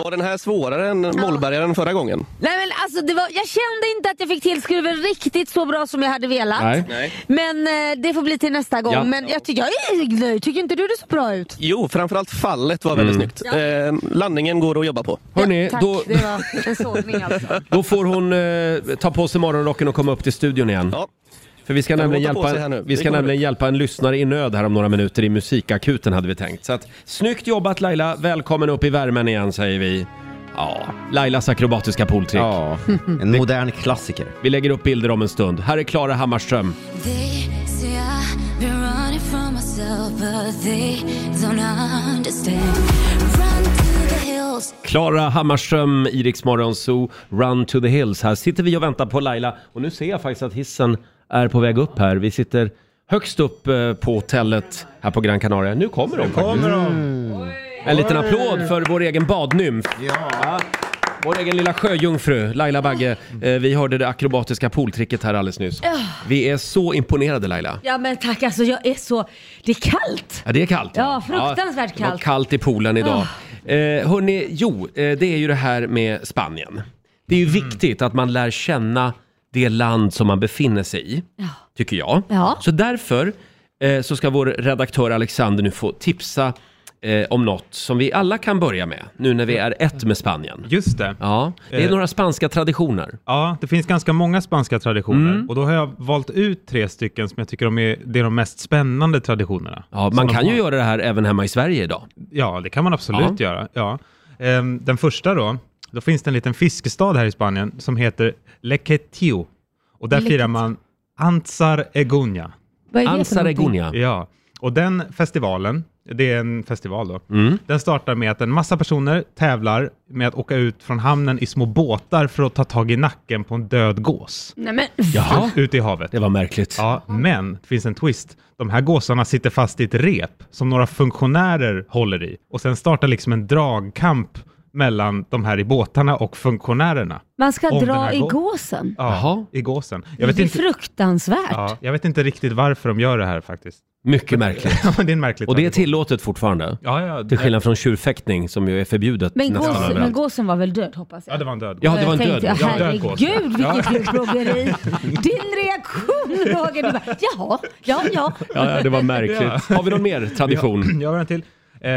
Var den här svårare än mollbergaren förra gången? Nej men alltså det var, jag kände inte att jag fick till skruven riktigt så bra som jag hade velat. Nej. Nej. Men eh, det får bli till nästa gång. Ja. Men jag, ty- jag är nöjd. Tycker inte du det så bra ut? Jo, framförallt fallet var väldigt snyggt. Eh, landningen går att jobba på. Hörrni, Tack, då, det var en sågning alltså. då får hon eh, ta på sig morgonrocken och komma upp till studion igen. För vi ska, Ja, nämligen hon tar på sig hjälpa, här nu. vi Det ska går nämligen hjälpa en lyssnare i nöd här om några minuter i musikakuten hade vi tänkt. Så att, snyggt jobbat Laila, välkommen upp i värmen igen säger vi. Ja, Lailas akrobatiska pooltrick. en modern klassiker. Vi lägger upp bilder om en stund. Här är Klara Hammarström. They say I've been running from myself, but they don't understand. Run to the hills. Klara Hammarström, Iriks Zoo, Run to the Hills. Här sitter vi och väntar på Laila och nu ser jag faktiskt att hissen är på väg upp här. Vi sitter högst upp eh, på hotellet här på Gran Canaria. Nu kommer de faktiskt. En liten applåd för vår egen badnymf. Ja. Vår egen lilla sjöjungfru, Laila Bagge. Eh, Vi hörde det akrobatiska pooltricket här alldeles nyss. Ja. Vi är så imponerade Laila. Ja men tack alltså, jag är så... Det är kallt! Ja, det är kallt. Ja, fruktansvärt Det var kallt. kallt i poolen idag. Eh, hörni, jo, eh, det är ju det här med Spanien. Det är ju viktigt att man lär känna det land som man befinner sig i, Ja. tycker jag. Ja. Så därför eh, så ska vår redaktör Alexander nu få tipsa eh, om något som vi alla kan börja med, nu när vi är ett med Spanien. Just det. Ja, det är Eh. några spanska traditioner. Ja, det finns ganska många spanska traditioner Mm. och då har jag valt ut tre stycken som jag tycker de är, det är de mest spännande traditionerna. Ja, man kan ju göra det här även hemma i Sverige idag. Ja, det kan man absolut Ja. göra. Ja. Ehm, den första då, då finns det en liten fiskestad här i Spanien som heter Lequeitio och där Lequeitio. firar man Ansar Eguña. Vad är det för Ansar någonting? Eguña? Ja, och den festivalen, det är en festival då, Mm. den startar med att en massa personer tävlar med att åka ut från hamnen i små båtar för att ta tag i nacken på en död gås. Nej men... Jaha. Ute i havet. Det var märkligt. Ja, men det finns en twist. De här gåsarna sitter fast i ett rep som några funktionärer håller i och sen startar liksom en dragkamp mellan de här i båtarna och funktionärerna. Man ska Om den dra här i gå- gåsen. Ja, i gåsen. Jag vet det är inte, fruktansvärt. ja, jag vet inte riktigt varför de gör det här faktiskt. Mycket märkligt. ja, men det är en märklig Och det är tradition. tillåtet fortfarande. Ja, ja, till skillnad från tjurfäktning som ju är förbjudet Men, nästan gås, men överallt. gåsen var väl död hoppas jag? Ja, det var en död Ja, det var en Jag död tänkte, gås. Ja, död gås. Herregud vilket Ja. djurplågeri! Din reaktion Roger! Du bara, jaha, ja, ja. Ja, ja, det var märkligt. Har vi någon mer tradition? Vi har- Jag har en till. Eh,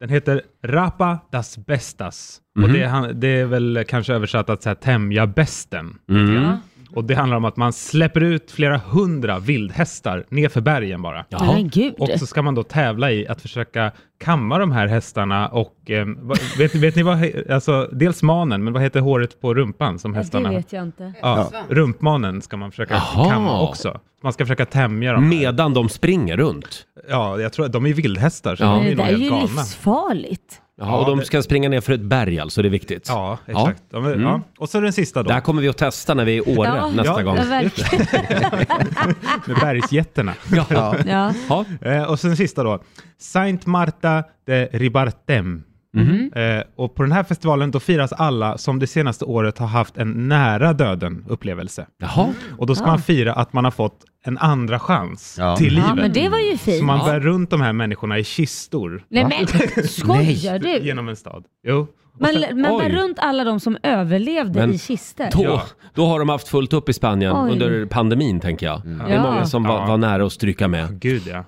den heter Rapa das Bestas. Mhm. Och det, är han- det är väl kanske översatt att så här, tämja bästen. Mm. Ja. Och det handlar om att man släpper ut flera hundra vildhästar nerför bergen bara. Jaha. Men gud. Och så ska man då tävla i att försöka kamma de här hästarna och eh, vad- vet, vet ni vad, he- alltså dels manen, men vad heter håret på rumpan som hästarna vet jag inte. Ja, Svans. rumpmanen ska man försöka Jaha. kamma också. Man ska försöka tämja dem. Medan de springer runt? Ja, jag tror att de är vildhästar så de Men är det nog där är helt ju galna. livsfarligt. Ja, och de ska springa ner för ett berg alltså, det är viktigt. Ja, Mm. exakt. De är- ja. Och så den sista då. Där kommer vi att testa när vi är i Åre Ja, nästa ja, gång. verkligen. Med bergsjättarna. Ja. Ja. Eh, och sen sista då. Saint Marta de Ribartem. Mhm. Eh, och på den här festivalen då firas alla som det senaste året har haft en nära döden upplevelse. Jaha. Och då ska Ja. man fira att man har fått en andra chans Ja. till livet. Ja, men det var ju fint. Så man Ja. bär runt de här människorna i kistor. Nej men skojar Nej. du? Genom en stad. Jo. Man, Och sen- man bär oj. runt alla de som överlevde Men i kister. Då, då har de haft fullt upp i Spanien Oj. under pandemin, tänker jag. Det är Ja. många som var, var nära att stryka med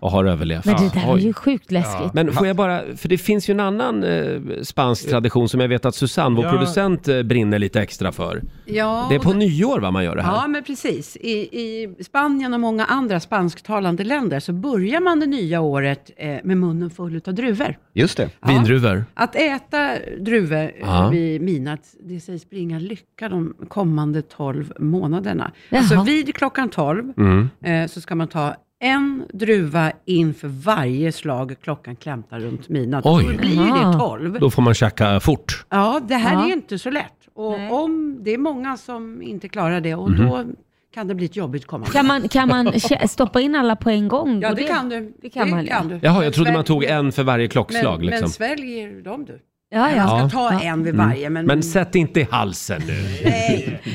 och har överlevt. Men det där var Oj. ju sjukt läskigt. Men får jag bara, för det finns ju en annan eh, spansk tradition som jag vet att Susanne, vår Ja. producent, eh, brinner lite extra för. Ja, Det är på och- nyår va man gör det här? Ja, men precis. I, I Spanien och många andra spansktalande länder så börjar man det nya året eh, med munnen full av druvor. Just det. Vindruvor. Att äta druvor Ja. ja. vid midnatt, det sägs bringa lycka de kommande 12 månaderna. Jaha. Alltså vid klockan 12 Mm. eh, så ska man ta en druva inför varje slag klockan klämtar runt midnatt. Då blir ju det 12. Då får man tjacka fort. Ja, det här Ja. är inte så lätt. Och om, det är många som inte klarar det och Mhm. då kan det bli ett jobbigt kommande. Kan man, kan man kä- stoppa in alla på en gång? Ja, Går det kan du. Det kan Det man kan ja. du. Jaha, jag trodde man tog en för varje klockslag men, liksom. Mm. men sväljer dem du. Ja, ja. Man ska ta en vid varje, men... Men sätt inte i halsen nu.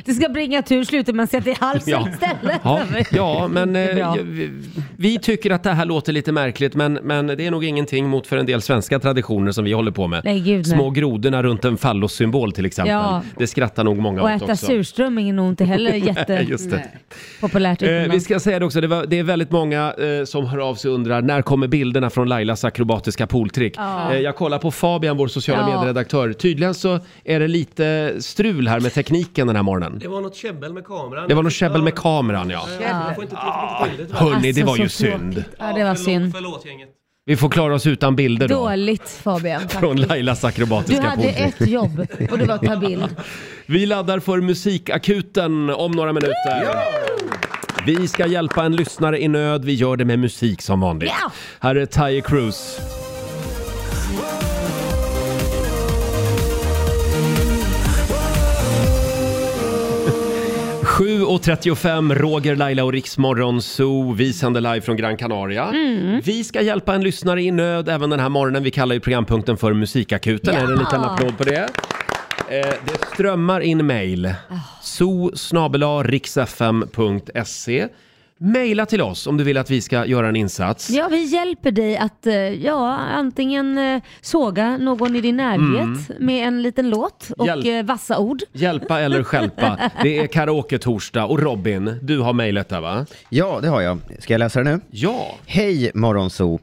Det ska bringa tur, slutar man sätta i halsen Ja. istället. Ja, ja men eh, Bra. vi, vi tycker att det här låter lite märkligt men, men det är nog ingenting mot för en del svenska traditioner som vi håller på med. Nej, gud, nej. Små grodorna runt en fallossymbol till exempel. Ja. Det skrattar nog många Och åt äta eh, också. surströmming är nog inte heller Just det. jättepopulärt Eh, vi utomlands. ska säga det också, det, var, det är väldigt många eh, som hör av sig och undrar när kommer bilderna från Lailas akrobatiska pooltrick? Ja. Eh, jag kollar på Fabian, vår sociala Ja. medieredaktör. Tydligen så är det lite strul här med tekniken den här morgonen. Det var något käbbel med kameran. Det var något käbbel med kameran ja. Ja, jag får inte- jag får inte till det, tyvärr. Hörni, det var ju Alltså, så tråkigt. synd. Ja, det var synd. Förlåt gänget. Vi får klara oss utan bilder då. Dåligt Fabian. faktiskt. Från Lailas Du akrobatiska hade påse. ett jobb och det var att ta bild. Vi laddar för Musikakuten om några minuter. Vi ska hjälpa en lyssnare i nöd. Vi gör det med musik som vanligt. Ja. Här är Tyre Cruz. Sju och 35, Roger, Laila och Riksmorgon Zoo. Vi sänder live från Gran Canaria. Mm. Vi ska hjälpa en lyssnare i nöd även den här morgonen. Vi kallar ju programpunkten för Musikakuten. Ja. Är det en liten applåd på det? Eh, det strömmar in mejl. zoo.riksfm.se Mejla E. till oss om du vill att vi ska göra en insats. Ja, vi hjälper dig att eh, ja, antingen eh, såga någon i din närhet med en liten låt och Mm. Hjälp. eh, vassa ord. Hjälpa eller stjälpa. Det är karaoke-torsdag och Robin, du har mejlet där va? Ja, det har jag. Ska jag läsa det nu? Ja. Hej Morgonzoo.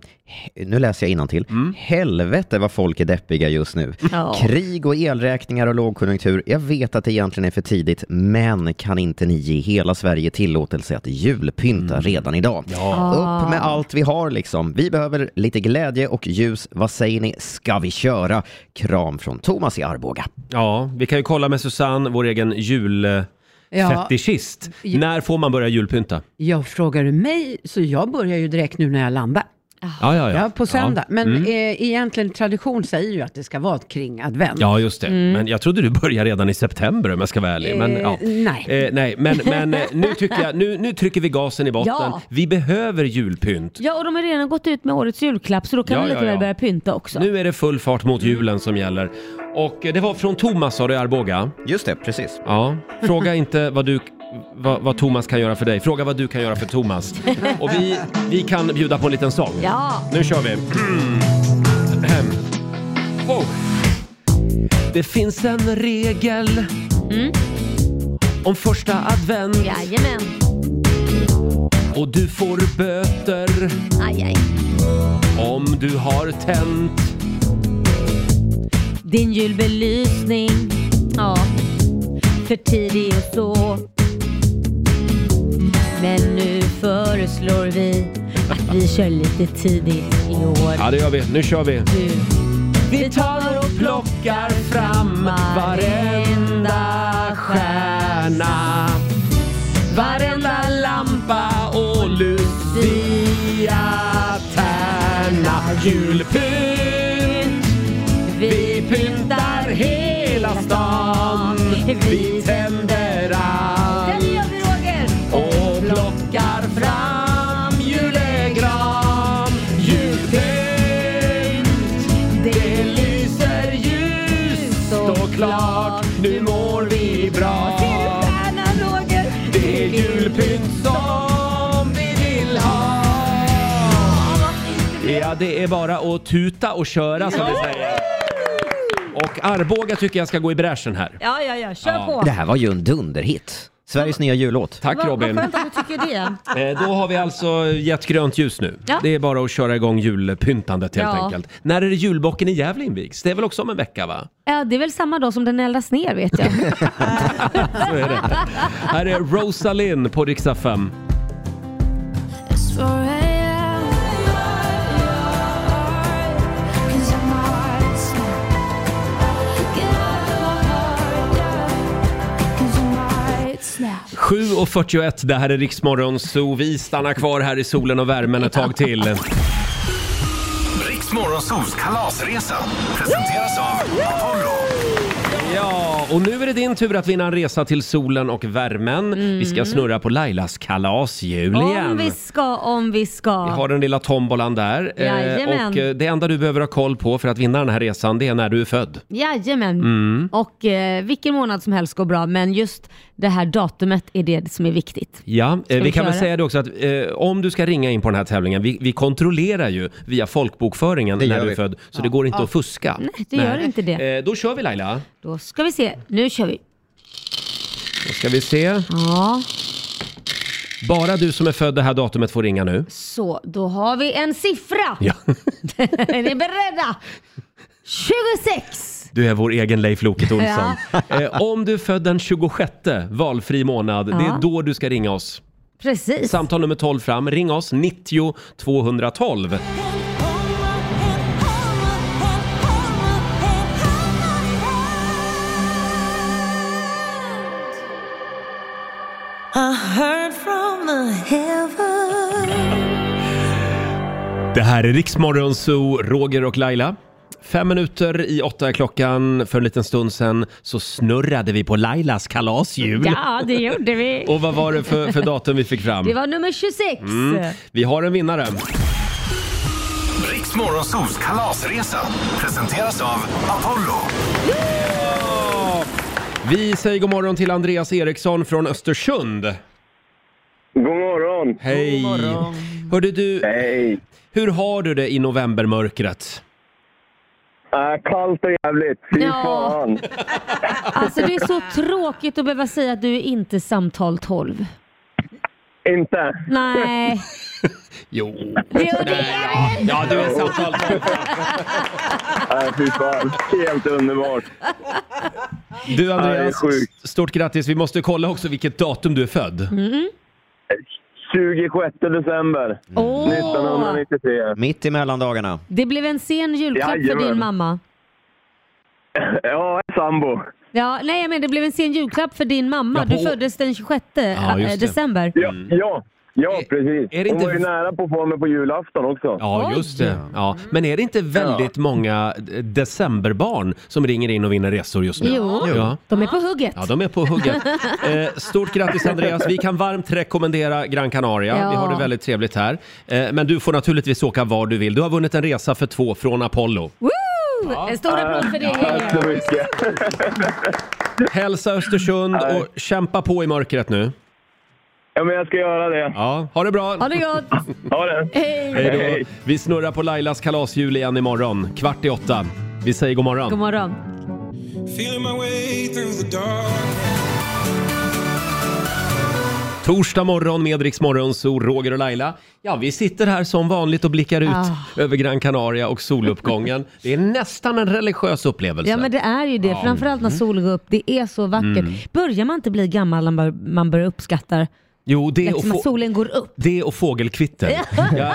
He- Nu läser jag innantill. Mm. Helvete vad folk är deppiga just nu. Ja. Krig och elräkningar och lågkonjunktur. Jag vet att det egentligen är för tidigt, men kan inte ni ge hela Sverige tillåtelse att julpynta Mm. redan idag? Ja. Upp med allt vi har liksom. Vi behöver lite glädje och ljus. Vad säger ni? Ska vi köra? Kram från Thomas i Arboga. Ja, vi kan ju kolla med Susanne, vår egen julfetischist. När får man börja julpynta? Jag frågar du mig, så jag börjar ju direkt nu när jag landar. Ja, ja, ja. på söndag. Ja. Men Mm. eh, egentligen tradition säger ju att det ska vara kring advent. Ja, just det. Mm. Men jag trodde du började redan i september om jag ska vara ärlig. Men, Eh, ja. nej. Eh, nej. Men, men eh, nu, tycker jag, nu, nu trycker vi gasen i botten. Ja. Vi behöver julpynt. Ja, och de har redan gått ut med årets julklapp så då kan Ja, man lika ja, väl ja. börja pynta också. Nu är det full fart mot julen som gäller. Och eh, det var från Thomas sa du i Arboga. Just det, precis. Ja. Fråga inte vad, du, vad, vad Thomas kan göra för dig. Fråga vad du kan göra för Thomas. Och vi, vi kan bjuda på en liten sång. Ja. Nu kör vi. Ahem. oh. Det finns en regel om första advent. Jajamän. Och du får böter Aj, aj. om du har tänt. Din julbelysning, ja, för tidig och så. Men nu föreslår vi att vi kör lite tidigt i år. Ja, det gör vi. Nu kör vi. Vi tar och plockar fram varenda stjärna. Varenda lampa och luciatärna. Julpynt. Vi pyntar hela stan. Vi tänder allt. Och plockar fram julgran Julpynt Det lyser ljust och klart Nu mår vi bra Det är julpynt som vi vill ha Ja, det är bara att tuta och köra som vi säger. Och Arboga tycker jag ska gå i bräschen här. Ja, ja, ja, kör på. Det här var ju en dunderhit. Sveriges nya jullåt. Tack Robin. Vad skönt att du tycker det. Eh, Då har vi alltså gett grönt ljus nu. Ja. Det är bara att köra igång julpyntandet helt Ja. enkelt. När är det julbocken i Gävle invigs? Det är väl också om en vecka va? Ja, det är väl samma dag som den eldas ner vet jag. Så är det. Här är Rosalind på riksdag 5. It's 4 a.m. Cause I'm hard as fuck. Get out of my heart, yeah. Cause I'm hard as fuck. 7.41, det här är Riksmorgon så Vi stannar kvar här i solen och värmen ett tag till. Riksmorgonsols kalasresa presenteras av Apollo. Ja, och nu är det din tur att vinna en resa till solen och värmen. Vi ska snurra på Lailas kalashjul igen. Mm. Om vi ska, om vi ska. Vi har den lilla tombolan där. Eh, Jajamän. Och eh, det enda du behöver ha koll på för att vinna den här resan, det är när du är född. Jajamän. Mm. Och eh, vilken månad som helst går bra, men just det här datumet är det som är viktigt. Ja, eh, vi, vi kan väl köra? säga det också att eh, om du ska ringa in på den här tävlingen, vi, vi kontrollerar ju via folkbokföringen Det när gör du är vi. född, så det går inte Ja. att fuska. Nej, det gör inte det. Eh, då kör vi Laila. Då ska vi se. Nu kör vi. Då ska vi se. Ja, Bara du som är född det här datumet får ringa nu. så då har vi en siffra. Ja. är ni beredda? 26! Du är vår egen Leif Loket Olsson. Ja. Eh, om du är född den 26, valfri månad, det Ja. är då du ska ringa oss. Precis. Samtal nummer 12 fram. Ring oss, 90 212. I heard from the heaven. Det här är Riksmorgon Zoo, Roger och Laila. Fem minuter i åtta är klockan. För en liten stund sen så snurrade vi på Lailas kalashjul. Ja, det gjorde vi. Och vad var det för, för datum vi fick fram? Det var nummer 26. Mm. Vi har en vinnare. Riks Morgonzoos kalasresa presenteras av Apollo. Vi säger god morgon till Andreas Eriksson från Östersund. God morgon! Hej! God morgon. Hörde du, hur har du det i novembermörkret? Äh, kallt och jävligt, fy Ja. fan! Alltså det är så tråkigt att behöva säga att du är inte samtal 12. Inte? Nej. Jo. Det är ja. ja, du är samtal Äh, fy fan, helt underbart! Du Ja, det är Andreas, sjukt. st- stort grattis. Vi måste kolla också vilket datum du är född. 26 december 1993. Mitt i mellandagarna. Det blev en sen julklapp för Jajamän. din mamma. Ja, sambo. Ja, nej men det blev en sen julklapp för din mamma. Ja, på- Du föddes den 26 eh, december. Ja, Mm. ja, ja precis. det Hon inte- var ju nära på att få mig på julafton också. Ja, just det. Ja. Men är det inte väldigt många eh, decemberbarn som ringer in och vinner resor just nu? Jo, Ja. de är på hugget. Ja, de är på hugget. Eh, stort grattis Andreas. Vi kan varmt rekommendera Gran Canaria. Ja. Vi har det väldigt trevligt här. Eh, men du får naturligtvis åka var du vill. Du har vunnit en resa för två från Apollo. Woo! En stor applåd för dig. Tack så mycket. Hälsa Östersund och kämpa på i mörkret nu. Ja, men jag ska göra det. Ja, ha det bra! Ha det gott! Ha det! Hej då! Vi snurrar på Lailas kalashjul igen imorgon, kvart i åtta. Vi säger god morgon. God morgon. Feeling my way through the dark. Torsdag morgon med Rix Morgon, så Roger och Laila. Ja, vi sitter här som vanligt och blickar ut Ah. över Gran Canaria och soluppgången. Det är nästan en religiös upplevelse. Ja men det är ju det, Ja. framförallt när solen går upp. Det är så vackert. Mm. Börjar man inte bli gammal när man bör- man börjar uppskatta Jo, det och liksom, få- att solen går upp? Det och fågelkvitter. Jag,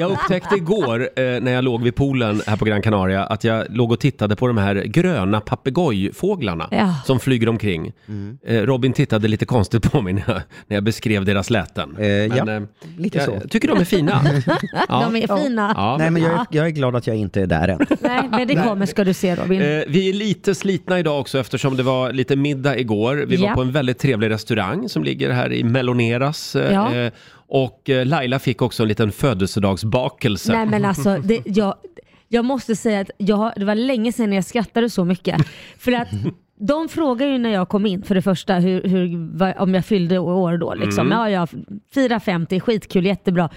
jag upptäckte igår eh, när jag låg vid poolen här på Gran Canaria att jag låg och tittade på de här gröna papegojfåglarna Ja. som flyger omkring. Eh, Robin tittade lite konstigt på mig när jag, när jag beskrev deras läten. ja, eh, lite jag så. tycker de är fina. De är fina. Ja. Nej, men jag är, jag är glad att jag inte är där än. Nej, men det kommer ska du se Robin. Eh, vi är lite slitna idag också eftersom det var lite middag igår. Vi var Ja. på en väldigt trevlig restaurang som ligger här i Meloneras. eh, Ja. eh, Och eh, Laila fick också en liten födelsedagsbakelse. Nej men alltså, det, jag, jag måste säga att jag, har- det var länge sedan jag skrattade så mycket. För att de frågade ju när jag kom in för det första hur, hur, vad- om jag fyllde år då. Liksom. Mm. Ja, jag firar 50, skitkul, jättebra.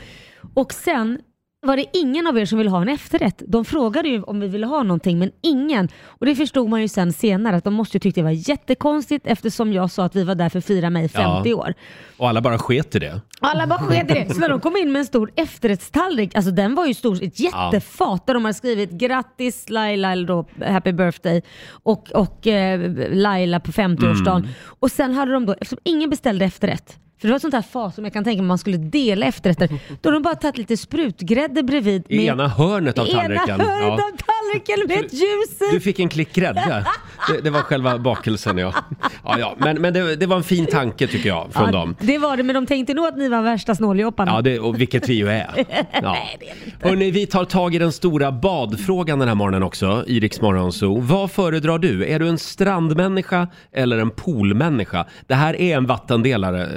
Och sen var det ingen av er som ville ha en efterrätt. De frågade ju om vi ville ha någonting, men ingen. Och det förstod man ju sen senare att de måste ju tyckt det var jättekonstigt eftersom jag sa att vi var där för att fira mig 50 Ja. år. Och alla bara sket i det. Alla bara sket i det. Så när de kom in med en stor efterrättstallrik, alltså den var ju stor, ett jättefat där de hade skrivit grattis Laila eller då happy birthday och, och eh, Laila på 50-årsdagen. Mm. Och sen hade de då, eftersom ingen beställde efterrätt, för det var ett sånt här fat som jag kan tänka mig man skulle dela efterrätter, då har de bara tagit lite sprutgrädde bredvid. I ena hörnet av I ena tallriken. hörnet Ja. av tallriken med ett ljus i. Du fick en klick grädde. Det, det var själva bakelsen ja. ja, ja. Men, men det, det var en fin tanke tycker jag från Ja, dem. Det var det, men de tänkte nog att ni var värsta snåljåparna. Ja, det, och vilket vi ju är. Ja. Nej, det är ni inte. Hörrni, vi tar tag i den stora badfrågan den här morgonen också i Rix Morgon Zoo. Vad föredrar du? Är du en strandmänniska eller en poolmänniska? Det här är en vattendelare eh,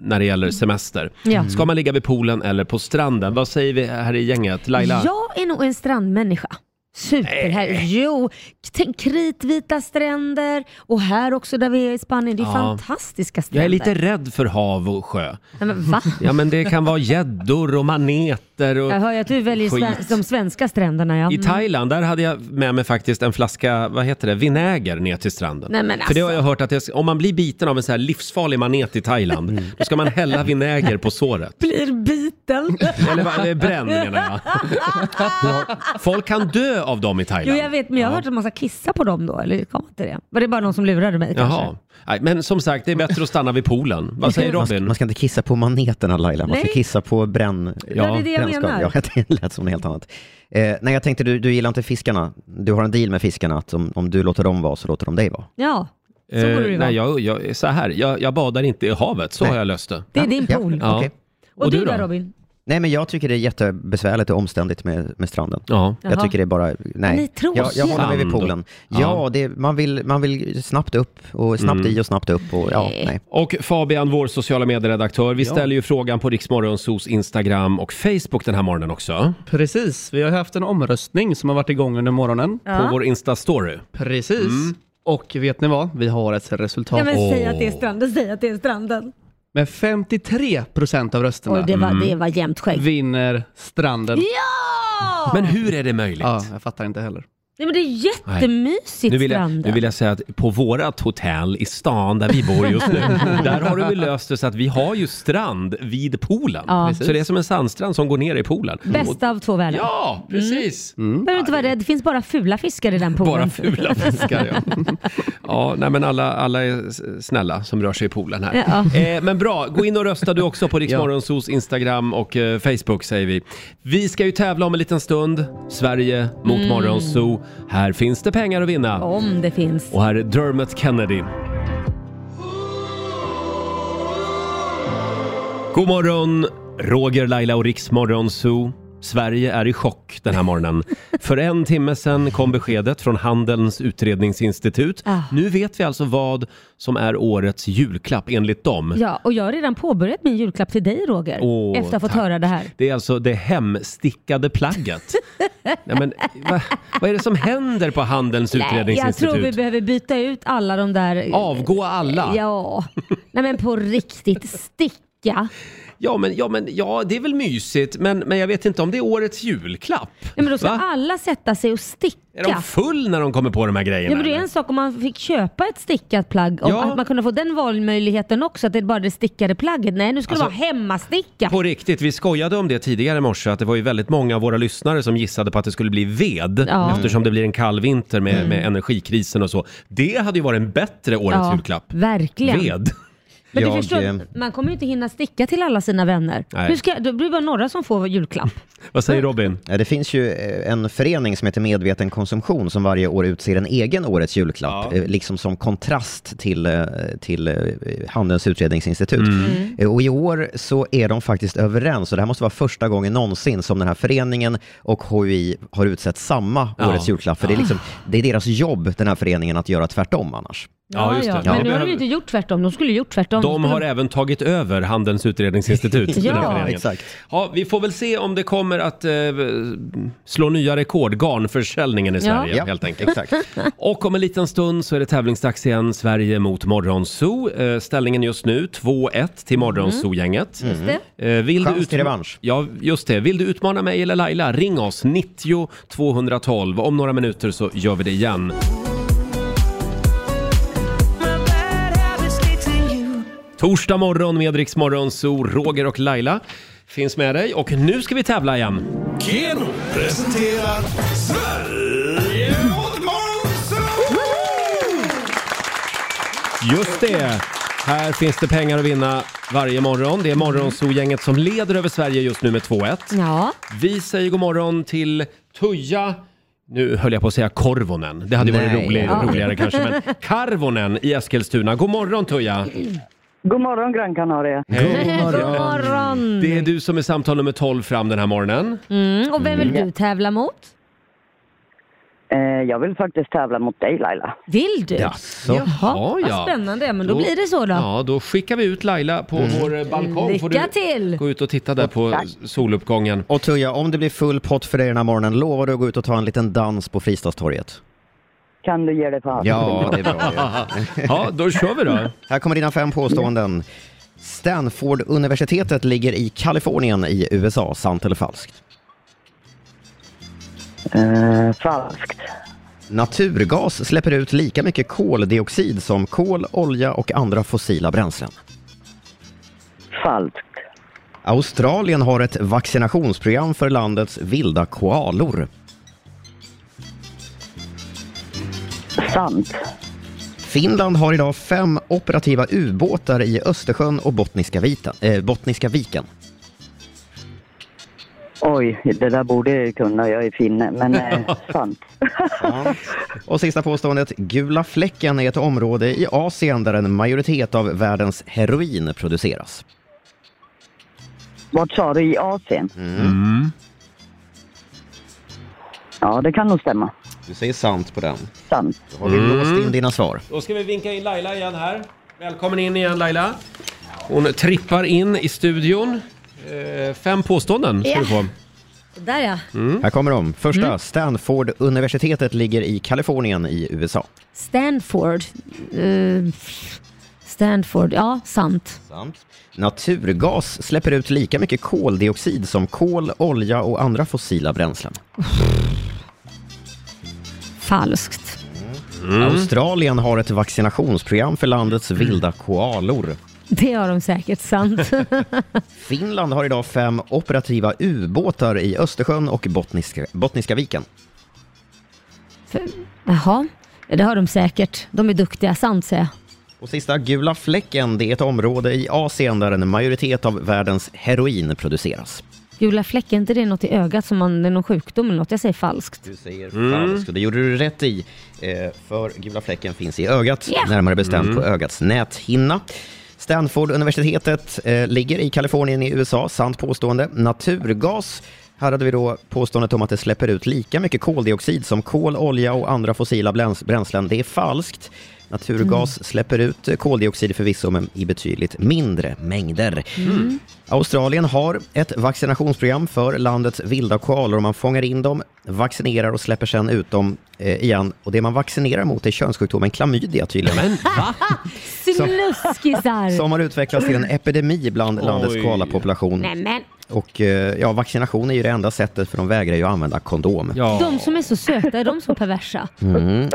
när det gäller semester. Ja. Ska man ligga vid poolen eller på stranden? Vad säger vi här i gänget? Laila? Jag är nog en strandmänniska. Superhär. Jo, tänk kritvita stränder och här också där vi är i Spanien. Det är Ja. fantastiska stränder. Jag är lite rädd för hav och sjö. Nej, men va? Ja men det kan vara gäddor och maneter och... Jag hör ju att du väljer Skit. sve- de svenska stränderna. Ja. I Mm. Thailand, där hade jag med mig faktiskt en flaska, vad heter det, vinäger ner till stranden. Nej, men För det har alltså. jag hört att det, om man blir biten av en så här livsfarlig manet i Thailand, Mm. då ska man hälla vinäger på såret. alltså, Blir biten. Eller vad- eller bränd menar jag. Folk kan dö av dem i Jo, Thailand. jag vet, men jag har hört att man ska kissa på dem då. Eller det kommer inte det? Var det bara någon som lurade mig Jaha. kanske? Nej, men som sagt, det är bättre att stanna vid poolen. Vad säger man, ska, Robin? man ska inte kissa på maneterna Laila, man Nej. ska kissa på bränn... Ja, det är det jag brännskador. menar. Ja, det lät som något helt annat. Eh, nej, jag tänkte du, du gillar inte fiskarna. Du har en deal med fiskarna att om, om du låter dem vara så låter de dig vara. Ja. Eh, borde det vara. nej, jag, jag, så här, jag, jag badar inte i havet, så har jag löst det. Det är din pool. Ja. Okej. Och, du, då Robin? Nej, men jag tycker det är jättebesvärligt och omständigt med, med stranden. Ja. Jag Jaha. tycker det är bara, nej. Ni är tråkiga. jag, jag håller mig vid Sand. poolen. Ja. Ja, det, man, vill, man vill snabbt upp och snabbt Mm. i och snabbt upp och ja, nej. Och Fabian, vår sociala medieredaktör, vi Ja. ställer ju frågan på Riksmorgonsos Instagram och Facebook den här morgonen också. Precis, vi har haft en omröstning som har varit igång under morgonen. Ja. På vår Insta-story. Precis. Och vet ni vad? Vi har ett resultat. Ja, men säg att det är stranden, säg att det är stranden. Med 53 procent av rösterna Oj, det var- Mm. det var jämnt skägg. vinner stranden. Ja! hur är det möjligt? Ja, jag fattar inte heller. Nej, men det är jättemysigt Nu vill, jag, stranden. nu vill jag säga att på vårat hotell i stan där vi bor just nu, där har vi löst det så att vi har ju strand vid poolen. Ja. Precis. Så det är som en sandstrand som går ner i poolen. Och- Bästa av två världar. Ja, precis. Mm. Behöver inte vara rädd, det finns bara fula fiskar i den poolen. Bara fula fiskar, ja. Ja, nej, men alla, alla är s- snälla som rör sig i poolen här. Ja. Eh, men bra, gå in och rösta du också på Riksmorgonsos Instagram och eh, Facebook säger vi. Vi ska ju tävla om en liten stund. Sverige mot Mm. Morgonzoo. Här finns det pengar att vinna. Om det finns. Och här är Dermot Kennedy. God morgon, Roger, Laila och Riksmorgon Zoo. Sverige är i chock den här morgonen. För en timme sedan kom beskedet från Handelns utredningsinstitut. Ah. Nu vet vi alltså vad som är årets julklapp enligt dem. Ja, och jag har redan påbörjat min julklapp till dig Roger. Åh, efter att ha fått tack. höra det här. Det är alltså det hemstickade plagget. Nej, men, va, vad är det som händer på Handelns Nej, jag tror vi utredningsinstitut? behöver byta ut alla de där... eh, Avgå alla. Ja. Nej men på riktigt, sticka. Ja, men, ja, men ja, det är väl mysigt, men, men jag vet inte om det är årets julklapp. Nej, men då ska Va? alla sätta sig och sticka. Är de full när de kommer på de här Ja, grejerna? men det är en sak om man fick köpa ett stickat plagg, om Ja. att man kunde få den valmöjligheten också, att det är bara det stickade plagget. Nej, nu ska det Alltså- vara hemmastickat. På riktigt, vi skojade om det tidigare i morse att det var ju väldigt många av våra lyssnare som gissade på att det skulle bli ved Ja. eftersom det blir en kall vinter med, Mm. med energikrisen och så. Det hade ju varit en bättre årets Ja, julklapp. eh, Verkligen. Ved. Men du förstår, man kommer ju inte hinna sticka till alla sina vänner. Nej. Hur ska, då blir det bara några som får julklapp. Vad säger Robin? Ja, det finns ju eh, en förening som heter Medveten konsumtion som varje år utser en egen årets julklapp, eh, liksom som kontrast till, eh, till eh, Handelns utredningsinstitut. Mm. Eh, Och i år så är de faktiskt överens, och det här måste vara första gången någonsin som den här föreningen och HUI har utsett samma Ja. årets julklapp, för det är, liksom, det är deras jobb, den här föreningen, att göra tvärtom annars. Ja, just det. Men Vi nu har de behöver- ju inte gjort tvärtom. De skulle ju gjort tvärtom. De skulle har även tagit över Handelns utredningsinstitut. den här Ja. föreningen. Exakt. Ja, vi får väl se om det kommer att eh, slå nya rekord, garnförsäljningen i Ja. Sverige Ja, helt enkelt. exakt. Och om en liten stund så är det tävlingsdags igen, Sverige mot Morgonzoo. Eh, ställningen just nu 2-1 till Morgonzoo-gänget. Mm. Just Eh, vill du Chans till utma- revansch. Ja, just det. Vill du utmana mig eller Laila, ring oss 90 212. Om några minuter så gör vi det igen. Torsdag morgon med Rix Morgonzoo, Roger och Laila finns med dig och nu ska vi tävla igen. Keno presenterar Sverige mot Just det! Här finns det pengar att vinna varje morgon. Det är Morgonzoo-gänget som leder över Sverige just nu med 2-1. Ja. Vi säger god morgon till Tuija, nu höll jag på att säga Korvonen. Det hade ju varit Nej. rolig, Ja. roligare kanske. Men Karvonen i Eskilstuna. God morgon Tuija! God morgon Gran Canaria. God morgon. Det är du som är samtal nummer 12 fram den här morgonen. Mm, och vem vill du tävla mot? Eh, jag vill faktiskt tävla mot dig Laila. Vill du? Jaså. Jaha, Vad ja. spännande. Men då, blir det så då. Mm. Ja, då skickar vi ut Laila på vår balkong. Får Lycka du till! gå ut och titta där på soluppgången. Och Tuija, om det blir full pott för dig den här morgonen, lovar du att gå ut och ta en liten dans på Fristadstorget? Kan du ge dig fan? Ja, det är bra. ja, då kör vi då. Här kommer dina fem påståenden. Stanford-universitetet ligger i Kalifornien i USA, sant eller falskt? Eh, falskt. Naturgas släpper ut lika mycket koldioxid som kol, olja och andra fossila bränslen. Falskt. Australien har ett vaccinationsprogram för landets vilda koalor. Sant. Finland har idag fem operativa ubåtar i Östersjön och Bottniska, vita, eh, Bottniska viken. Oj, det där borde jag ju kunna. Jag är finne. Men eh, sant. Och sista påståendet. Gula fläcken är ett område i Asien där en majoritet av världens heroin produceras. Vart sa du? I Asien? Mm. Ja, det kan nog stämma. Du säger sant på den. Sant. Då har vi Mm. låst in dina svar. Då ska vi vinka in Laila igen här. Välkommen in igen Laila. Hon trippar in i studion. Eh, fem påståenden ska du få. Där ja. Mm. Här kommer de. Första, Mm. Stanford-universitetet ligger i Kalifornien i USA. Stanford. Eh, Stanford, ja sant. Sant. Naturgas släpper ut lika mycket koldioxid som kol, olja och andra fossila bränslen. Falskt. Australien har ett vaccinationsprogram för landets vilda koalor. Det har de säkert, sant. Finland har idag fem operativa ubåtar i Östersjön och Bottniska, Bottniska viken. För, jaha, det har de säkert. De är duktiga, sant säger jag. Och sista, gula fläcken, det är ett område i Asien där en majoritet av världens heroin produceras. Gula fläcken, är inte det något i ögat som man, det är någon sjukdom eller något? Jag säger falskt. Du säger falskt och det gjorde du rätt i. Eh, för gula fläcken finns i ögat, närmare bestämt på ögats näthinna. Stanford-universitetet eh, ligger i Kalifornien i USA, sant påstående. Naturgas, här hade vi då påståendet om att det släpper ut lika mycket koldioxid som kol, olja och andra fossila bräns- bränslen. Det är falskt. Naturgas släpper ut eh, koldioxid förvisso, men i betydligt mindre mängder. Mm. Australien har ett vaccinationsprogram för landets vilda koalor. Man fångar in dem, vaccinerar och släpper sedan ut dem eh, igen. Och det man vaccinerar mot är könssjukdomen klamydia tydligen. Sinuskisar! Som har utvecklats till en epidemi bland Oj. landets koalapopulation. Nämen. Och eh, ja, vaccination är ju det enda sättet för de vägrar ju använda kondom. De som är så söta, är de så perversa? Mm.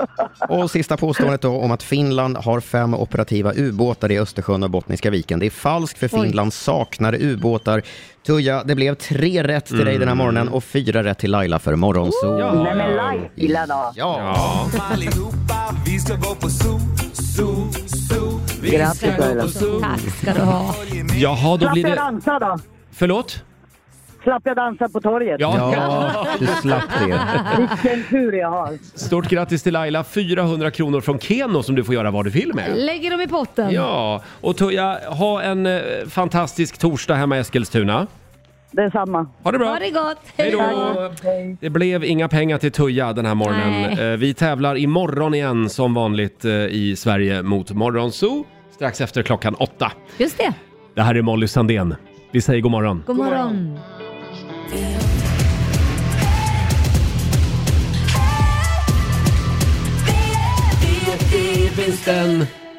Och sista påståendet då om att Finland har fem operativa ubåtar i Östersjön och Bottniska viken. Det är falskt för Oj. Finland saknar ubåtar. Tuija, det blev tre rätt till dig den här morgonen och fyra rätt till Laila för morgonzoo. Nej, men Laila då. Ja. Allihopa, vi ska gå på zoo, zoo, zoo. Grattis, Laila. Tack ska du ha. Jaha, då Slapp blir jag det... dansa då? Förlåt? Slapp jag dansa på torget? Ja. Ja, du slapp det. Vilken tur jag har. Stort grattis till Laila. 400 kronor från Keno som du får göra vad du vill med. Lägger dem i potten. Ja, och Tuija, ha en eh, fantastisk torsdag hemma i Eskilstuna. Detsamma. Ha det bra. Ha det gott. Hej då. Det blev inga pengar till Tuija den här morgonen. Nej. Eh, Vi tävlar imorgon igen som vanligt eh, i Sverige mot Morgonzoo strax efter klockan åtta. Just det. Det här är Molly Sandén. Vi säger god morgon. God morgon.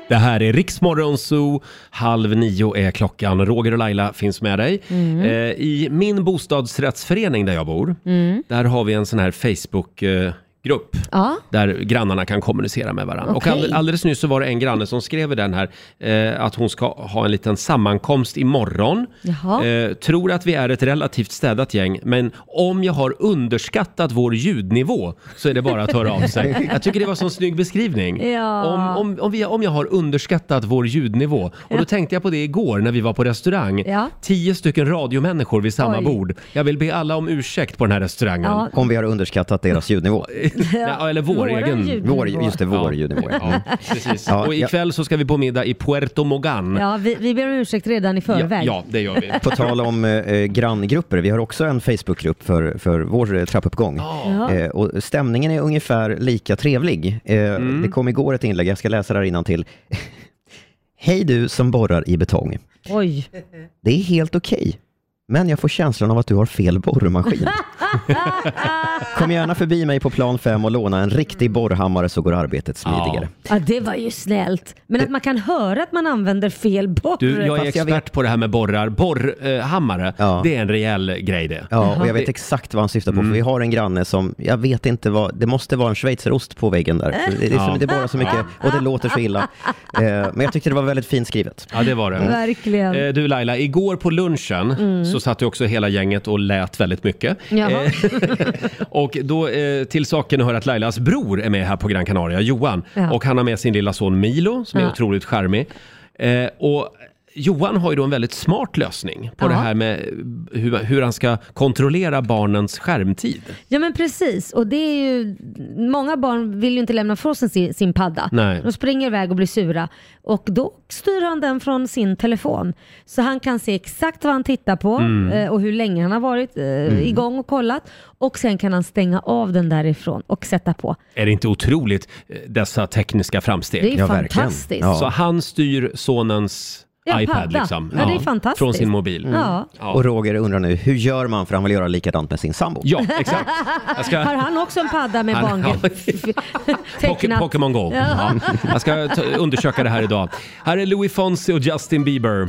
Det här är Riksmorgonzoo. Halv nio är klockan. Roger och Laila finns med dig. Mm. Eh, I min bostadsrättsförening där jag bor, Mm. där har vi en sån här eh, Facebook-grupp. Ja. där grannarna kan kommunicera med varandra. Och Okej. all, alldeles nyss så var det en granne som skrev i den här eh, att hon ska ha en liten sammankomst imorgon. Jaha. Eh, tror att vi är ett relativt städat gäng, men om jag har underskattat vår ljudnivå så är det bara att höra av sig. Jag tycker det var en sån snygg beskrivning. Ja. Om, om, om, vi, om jag har underskattat vår ljudnivå. Och då tänkte jag på det igår när vi var på restaurang. Ja. Tio stycken radiomänniskor vid samma Oj. bord. Jag vill be alla om ursäkt på den här restaurangen. Ja. Om vi har underskattat deras ljudnivå. Nej, eller vår Våran egen. ljudnivå. Vår- just det, vår ljudnivå, ja. Ja, precis. Mm. Ja, och ja. ikväll så ska vi på middag i Puerto Mogan. Ja, vi, vi ber om ursäkt redan i förväg. ja, det gör vi. På tal om eh, granngrupper, vi har också en Facebookgrupp för, för vår eh, trappuppgång. Ja. Eh, och stämningen är ungefär lika trevlig. Eh, Det kom igår ett inlägg, jag ska läsa det här till. Hej du som borrar i betong. Oj. Det är helt okej, men jag får känslan av att du har fel borrmaskin. Kom gärna förbi mig på plan 5 och låna en riktig borrhammare så går arbetet smidigare. Ja, det var ju snällt. Men att man kan höra att man använder fel borr. Du, jag är Fast expert vet- på det här med borrar. Borrhammare, det är en rejäl grej det. Ja, och jag vet Det- exakt vad han syftar på, för vi har en granne som, jag vet inte vad, det måste vara en schweizerost på väggen där. Det, det, är Ja. som, det borrar så mycket och det låter så illa. Eh, men jag tyckte det var väldigt fint skrivet. Ja, det var det. Verkligen. Eh, Du Laila, igår på lunchen Mm. så satt ju också hela gänget och lät väldigt mycket. Jaha. Eh, och då eh, till saken hör att Lailas bror är med här på Gran Canaria, Johan. Ja. Och han har med sin lilla son Milo som är Ja. otroligt charmig. Eh, och Johan har ju då en väldigt smart lösning på Ja. det här med hur, hur han ska kontrollera barnens skärmtid. Ja men precis och det är ju, många barn vill ju inte lämna ifrån sig sin, sin padda. Nej. De springer iväg och blir sura och då styr han den från sin telefon. Så han kan se exakt vad han tittar på Mm. eh, och hur länge han har varit eh, igång och kollat och sen kan han stänga av den därifrån och sätta på. Är det inte otroligt eh, dessa tekniska framsteg? Det är Ja, verkligen. fantastiskt. Ja. Så han styr sonens Ja, iPad padda. liksom. Ja, det är fantastiskt. Från sin mobil. Mm. Ja. Och Roger undrar nu, hur gör man för han vill göra likadant med sin sambo? Ja, exakt. Har han också en padda med Han- barngrepp? Poke- Tecknat. Pokémon Go. Ja. Ja. Jag ska ta- undersöka det här idag. Här är Louis Fonsi och Justin Bieber.